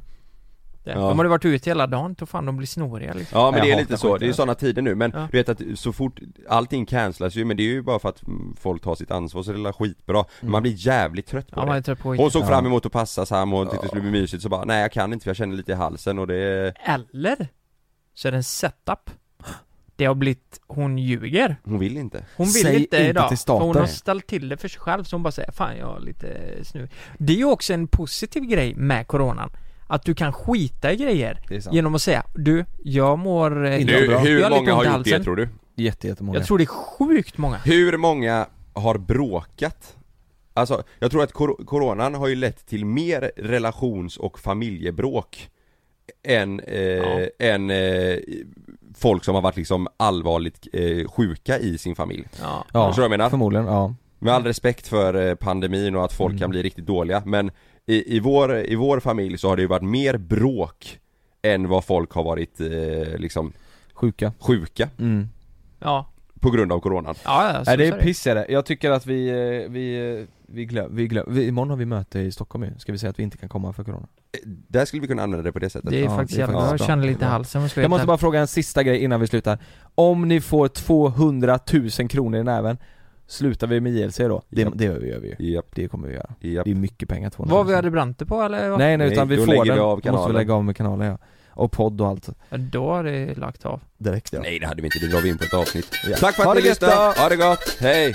C: Det.
A: Ja.
C: De hade varit ute hela dagen, då fan de blir snoriga liksom.
A: Ja men
B: Jag
A: det är
B: hatar
A: lite så,
B: skiten.
A: det är sådana tider nu men
C: Ja.
A: du vet att så fort, allting cancelas ju men det är ju bara för att mm, folk tar sitt ansvar så det är väl skitbra Men man blir jävligt trött på
C: Ja, man är
A: det
C: trött på skiten.
A: Hon såg
B: Ja.
A: fram emot att passa Sam och tyckte det skulle bli mysigt så bara nej jag kan inte för jag känner lite i halsen och det
C: Eller så är det en setup. Det har blivit, hon ljuger.
A: Hon vill inte
C: Hon vill
B: Säg
C: inte
B: inte
C: idag.
B: till
C: för
B: staten.
C: hon har ställt till det för sig själv så hon bara säger fan jag har lite snu. Det är ju också en positiv grej med coronan. Att du kan skita i grejer
B: Det är sant.
C: genom att säga du, jag mår eh,
B: Inte Du, bra.
C: Jag har lite ont i halsen.
A: du?
B: Jätte, jättemånga.
C: Jag tror det är sjukt många.
A: Hur många har bråkat? Alltså jag tror att kor- coronan har ju lett till mer relations och familjebråk än, eh,
C: Ja.
A: än eh, folk som har varit liksom allvarligt eh, sjuka i sin familj.
C: Ja.
B: ja,
A: Förstår du vad jag menar?
B: Förmodligen, ja.
A: Med all respekt för eh, pandemin och att folk
C: Mm.
A: kan bli riktigt dåliga men i, i, vår, I vår familj så har det ju varit mer bråk än vad folk har varit eh, liksom
B: Sjuka.
A: sjuka
B: Mm.
C: Ja,
A: på grund av coronan.
C: ja, ja så,
B: Nej det
C: så
B: är pissigare. Jag tycker att vi, eh, vi, eh, vi glöm, vi glöm, vi, imorgon har vi möte i Stockholm ju. Ska vi säga att vi inte kan komma för corona?
A: Eh, Där skulle vi kunna använda det på det sättet.
C: Det är
B: Ja,
C: faktiskt
B: det är
C: jävla bra.
B: faktiskt
C: Jag
B: bra.
C: känner lite i halsen och så
B: Jag måste bara fråga en sista grej innan vi slutar. Om ni får 200 000 kronor i näven, slutar vi med JLC då? Det,
A: Japp.
B: det gör vi, gör vi ju.
A: Japp,
B: Det kommer vi göra.
A: japp.
B: Det är mycket pengar 200 000.
C: Vad vi hade bränt det på eller? vad?
B: Nej nej utan
A: Nej,
B: vi
A: då
B: får
A: lägger
B: den,
A: vi av
B: Då måste vi
A: kanalen.
B: lägga av med kanalen ja. Och podd och allt.
C: Då har det lagt av.
B: Direkt ja.
A: Nej det hade vi inte, det drar vi in på ett avsnitt.
B: Ja.
A: Tack för
B: Ha
A: att ni
B: det gött
A: lyssnade,
B: då!
A: ha det gott, hej!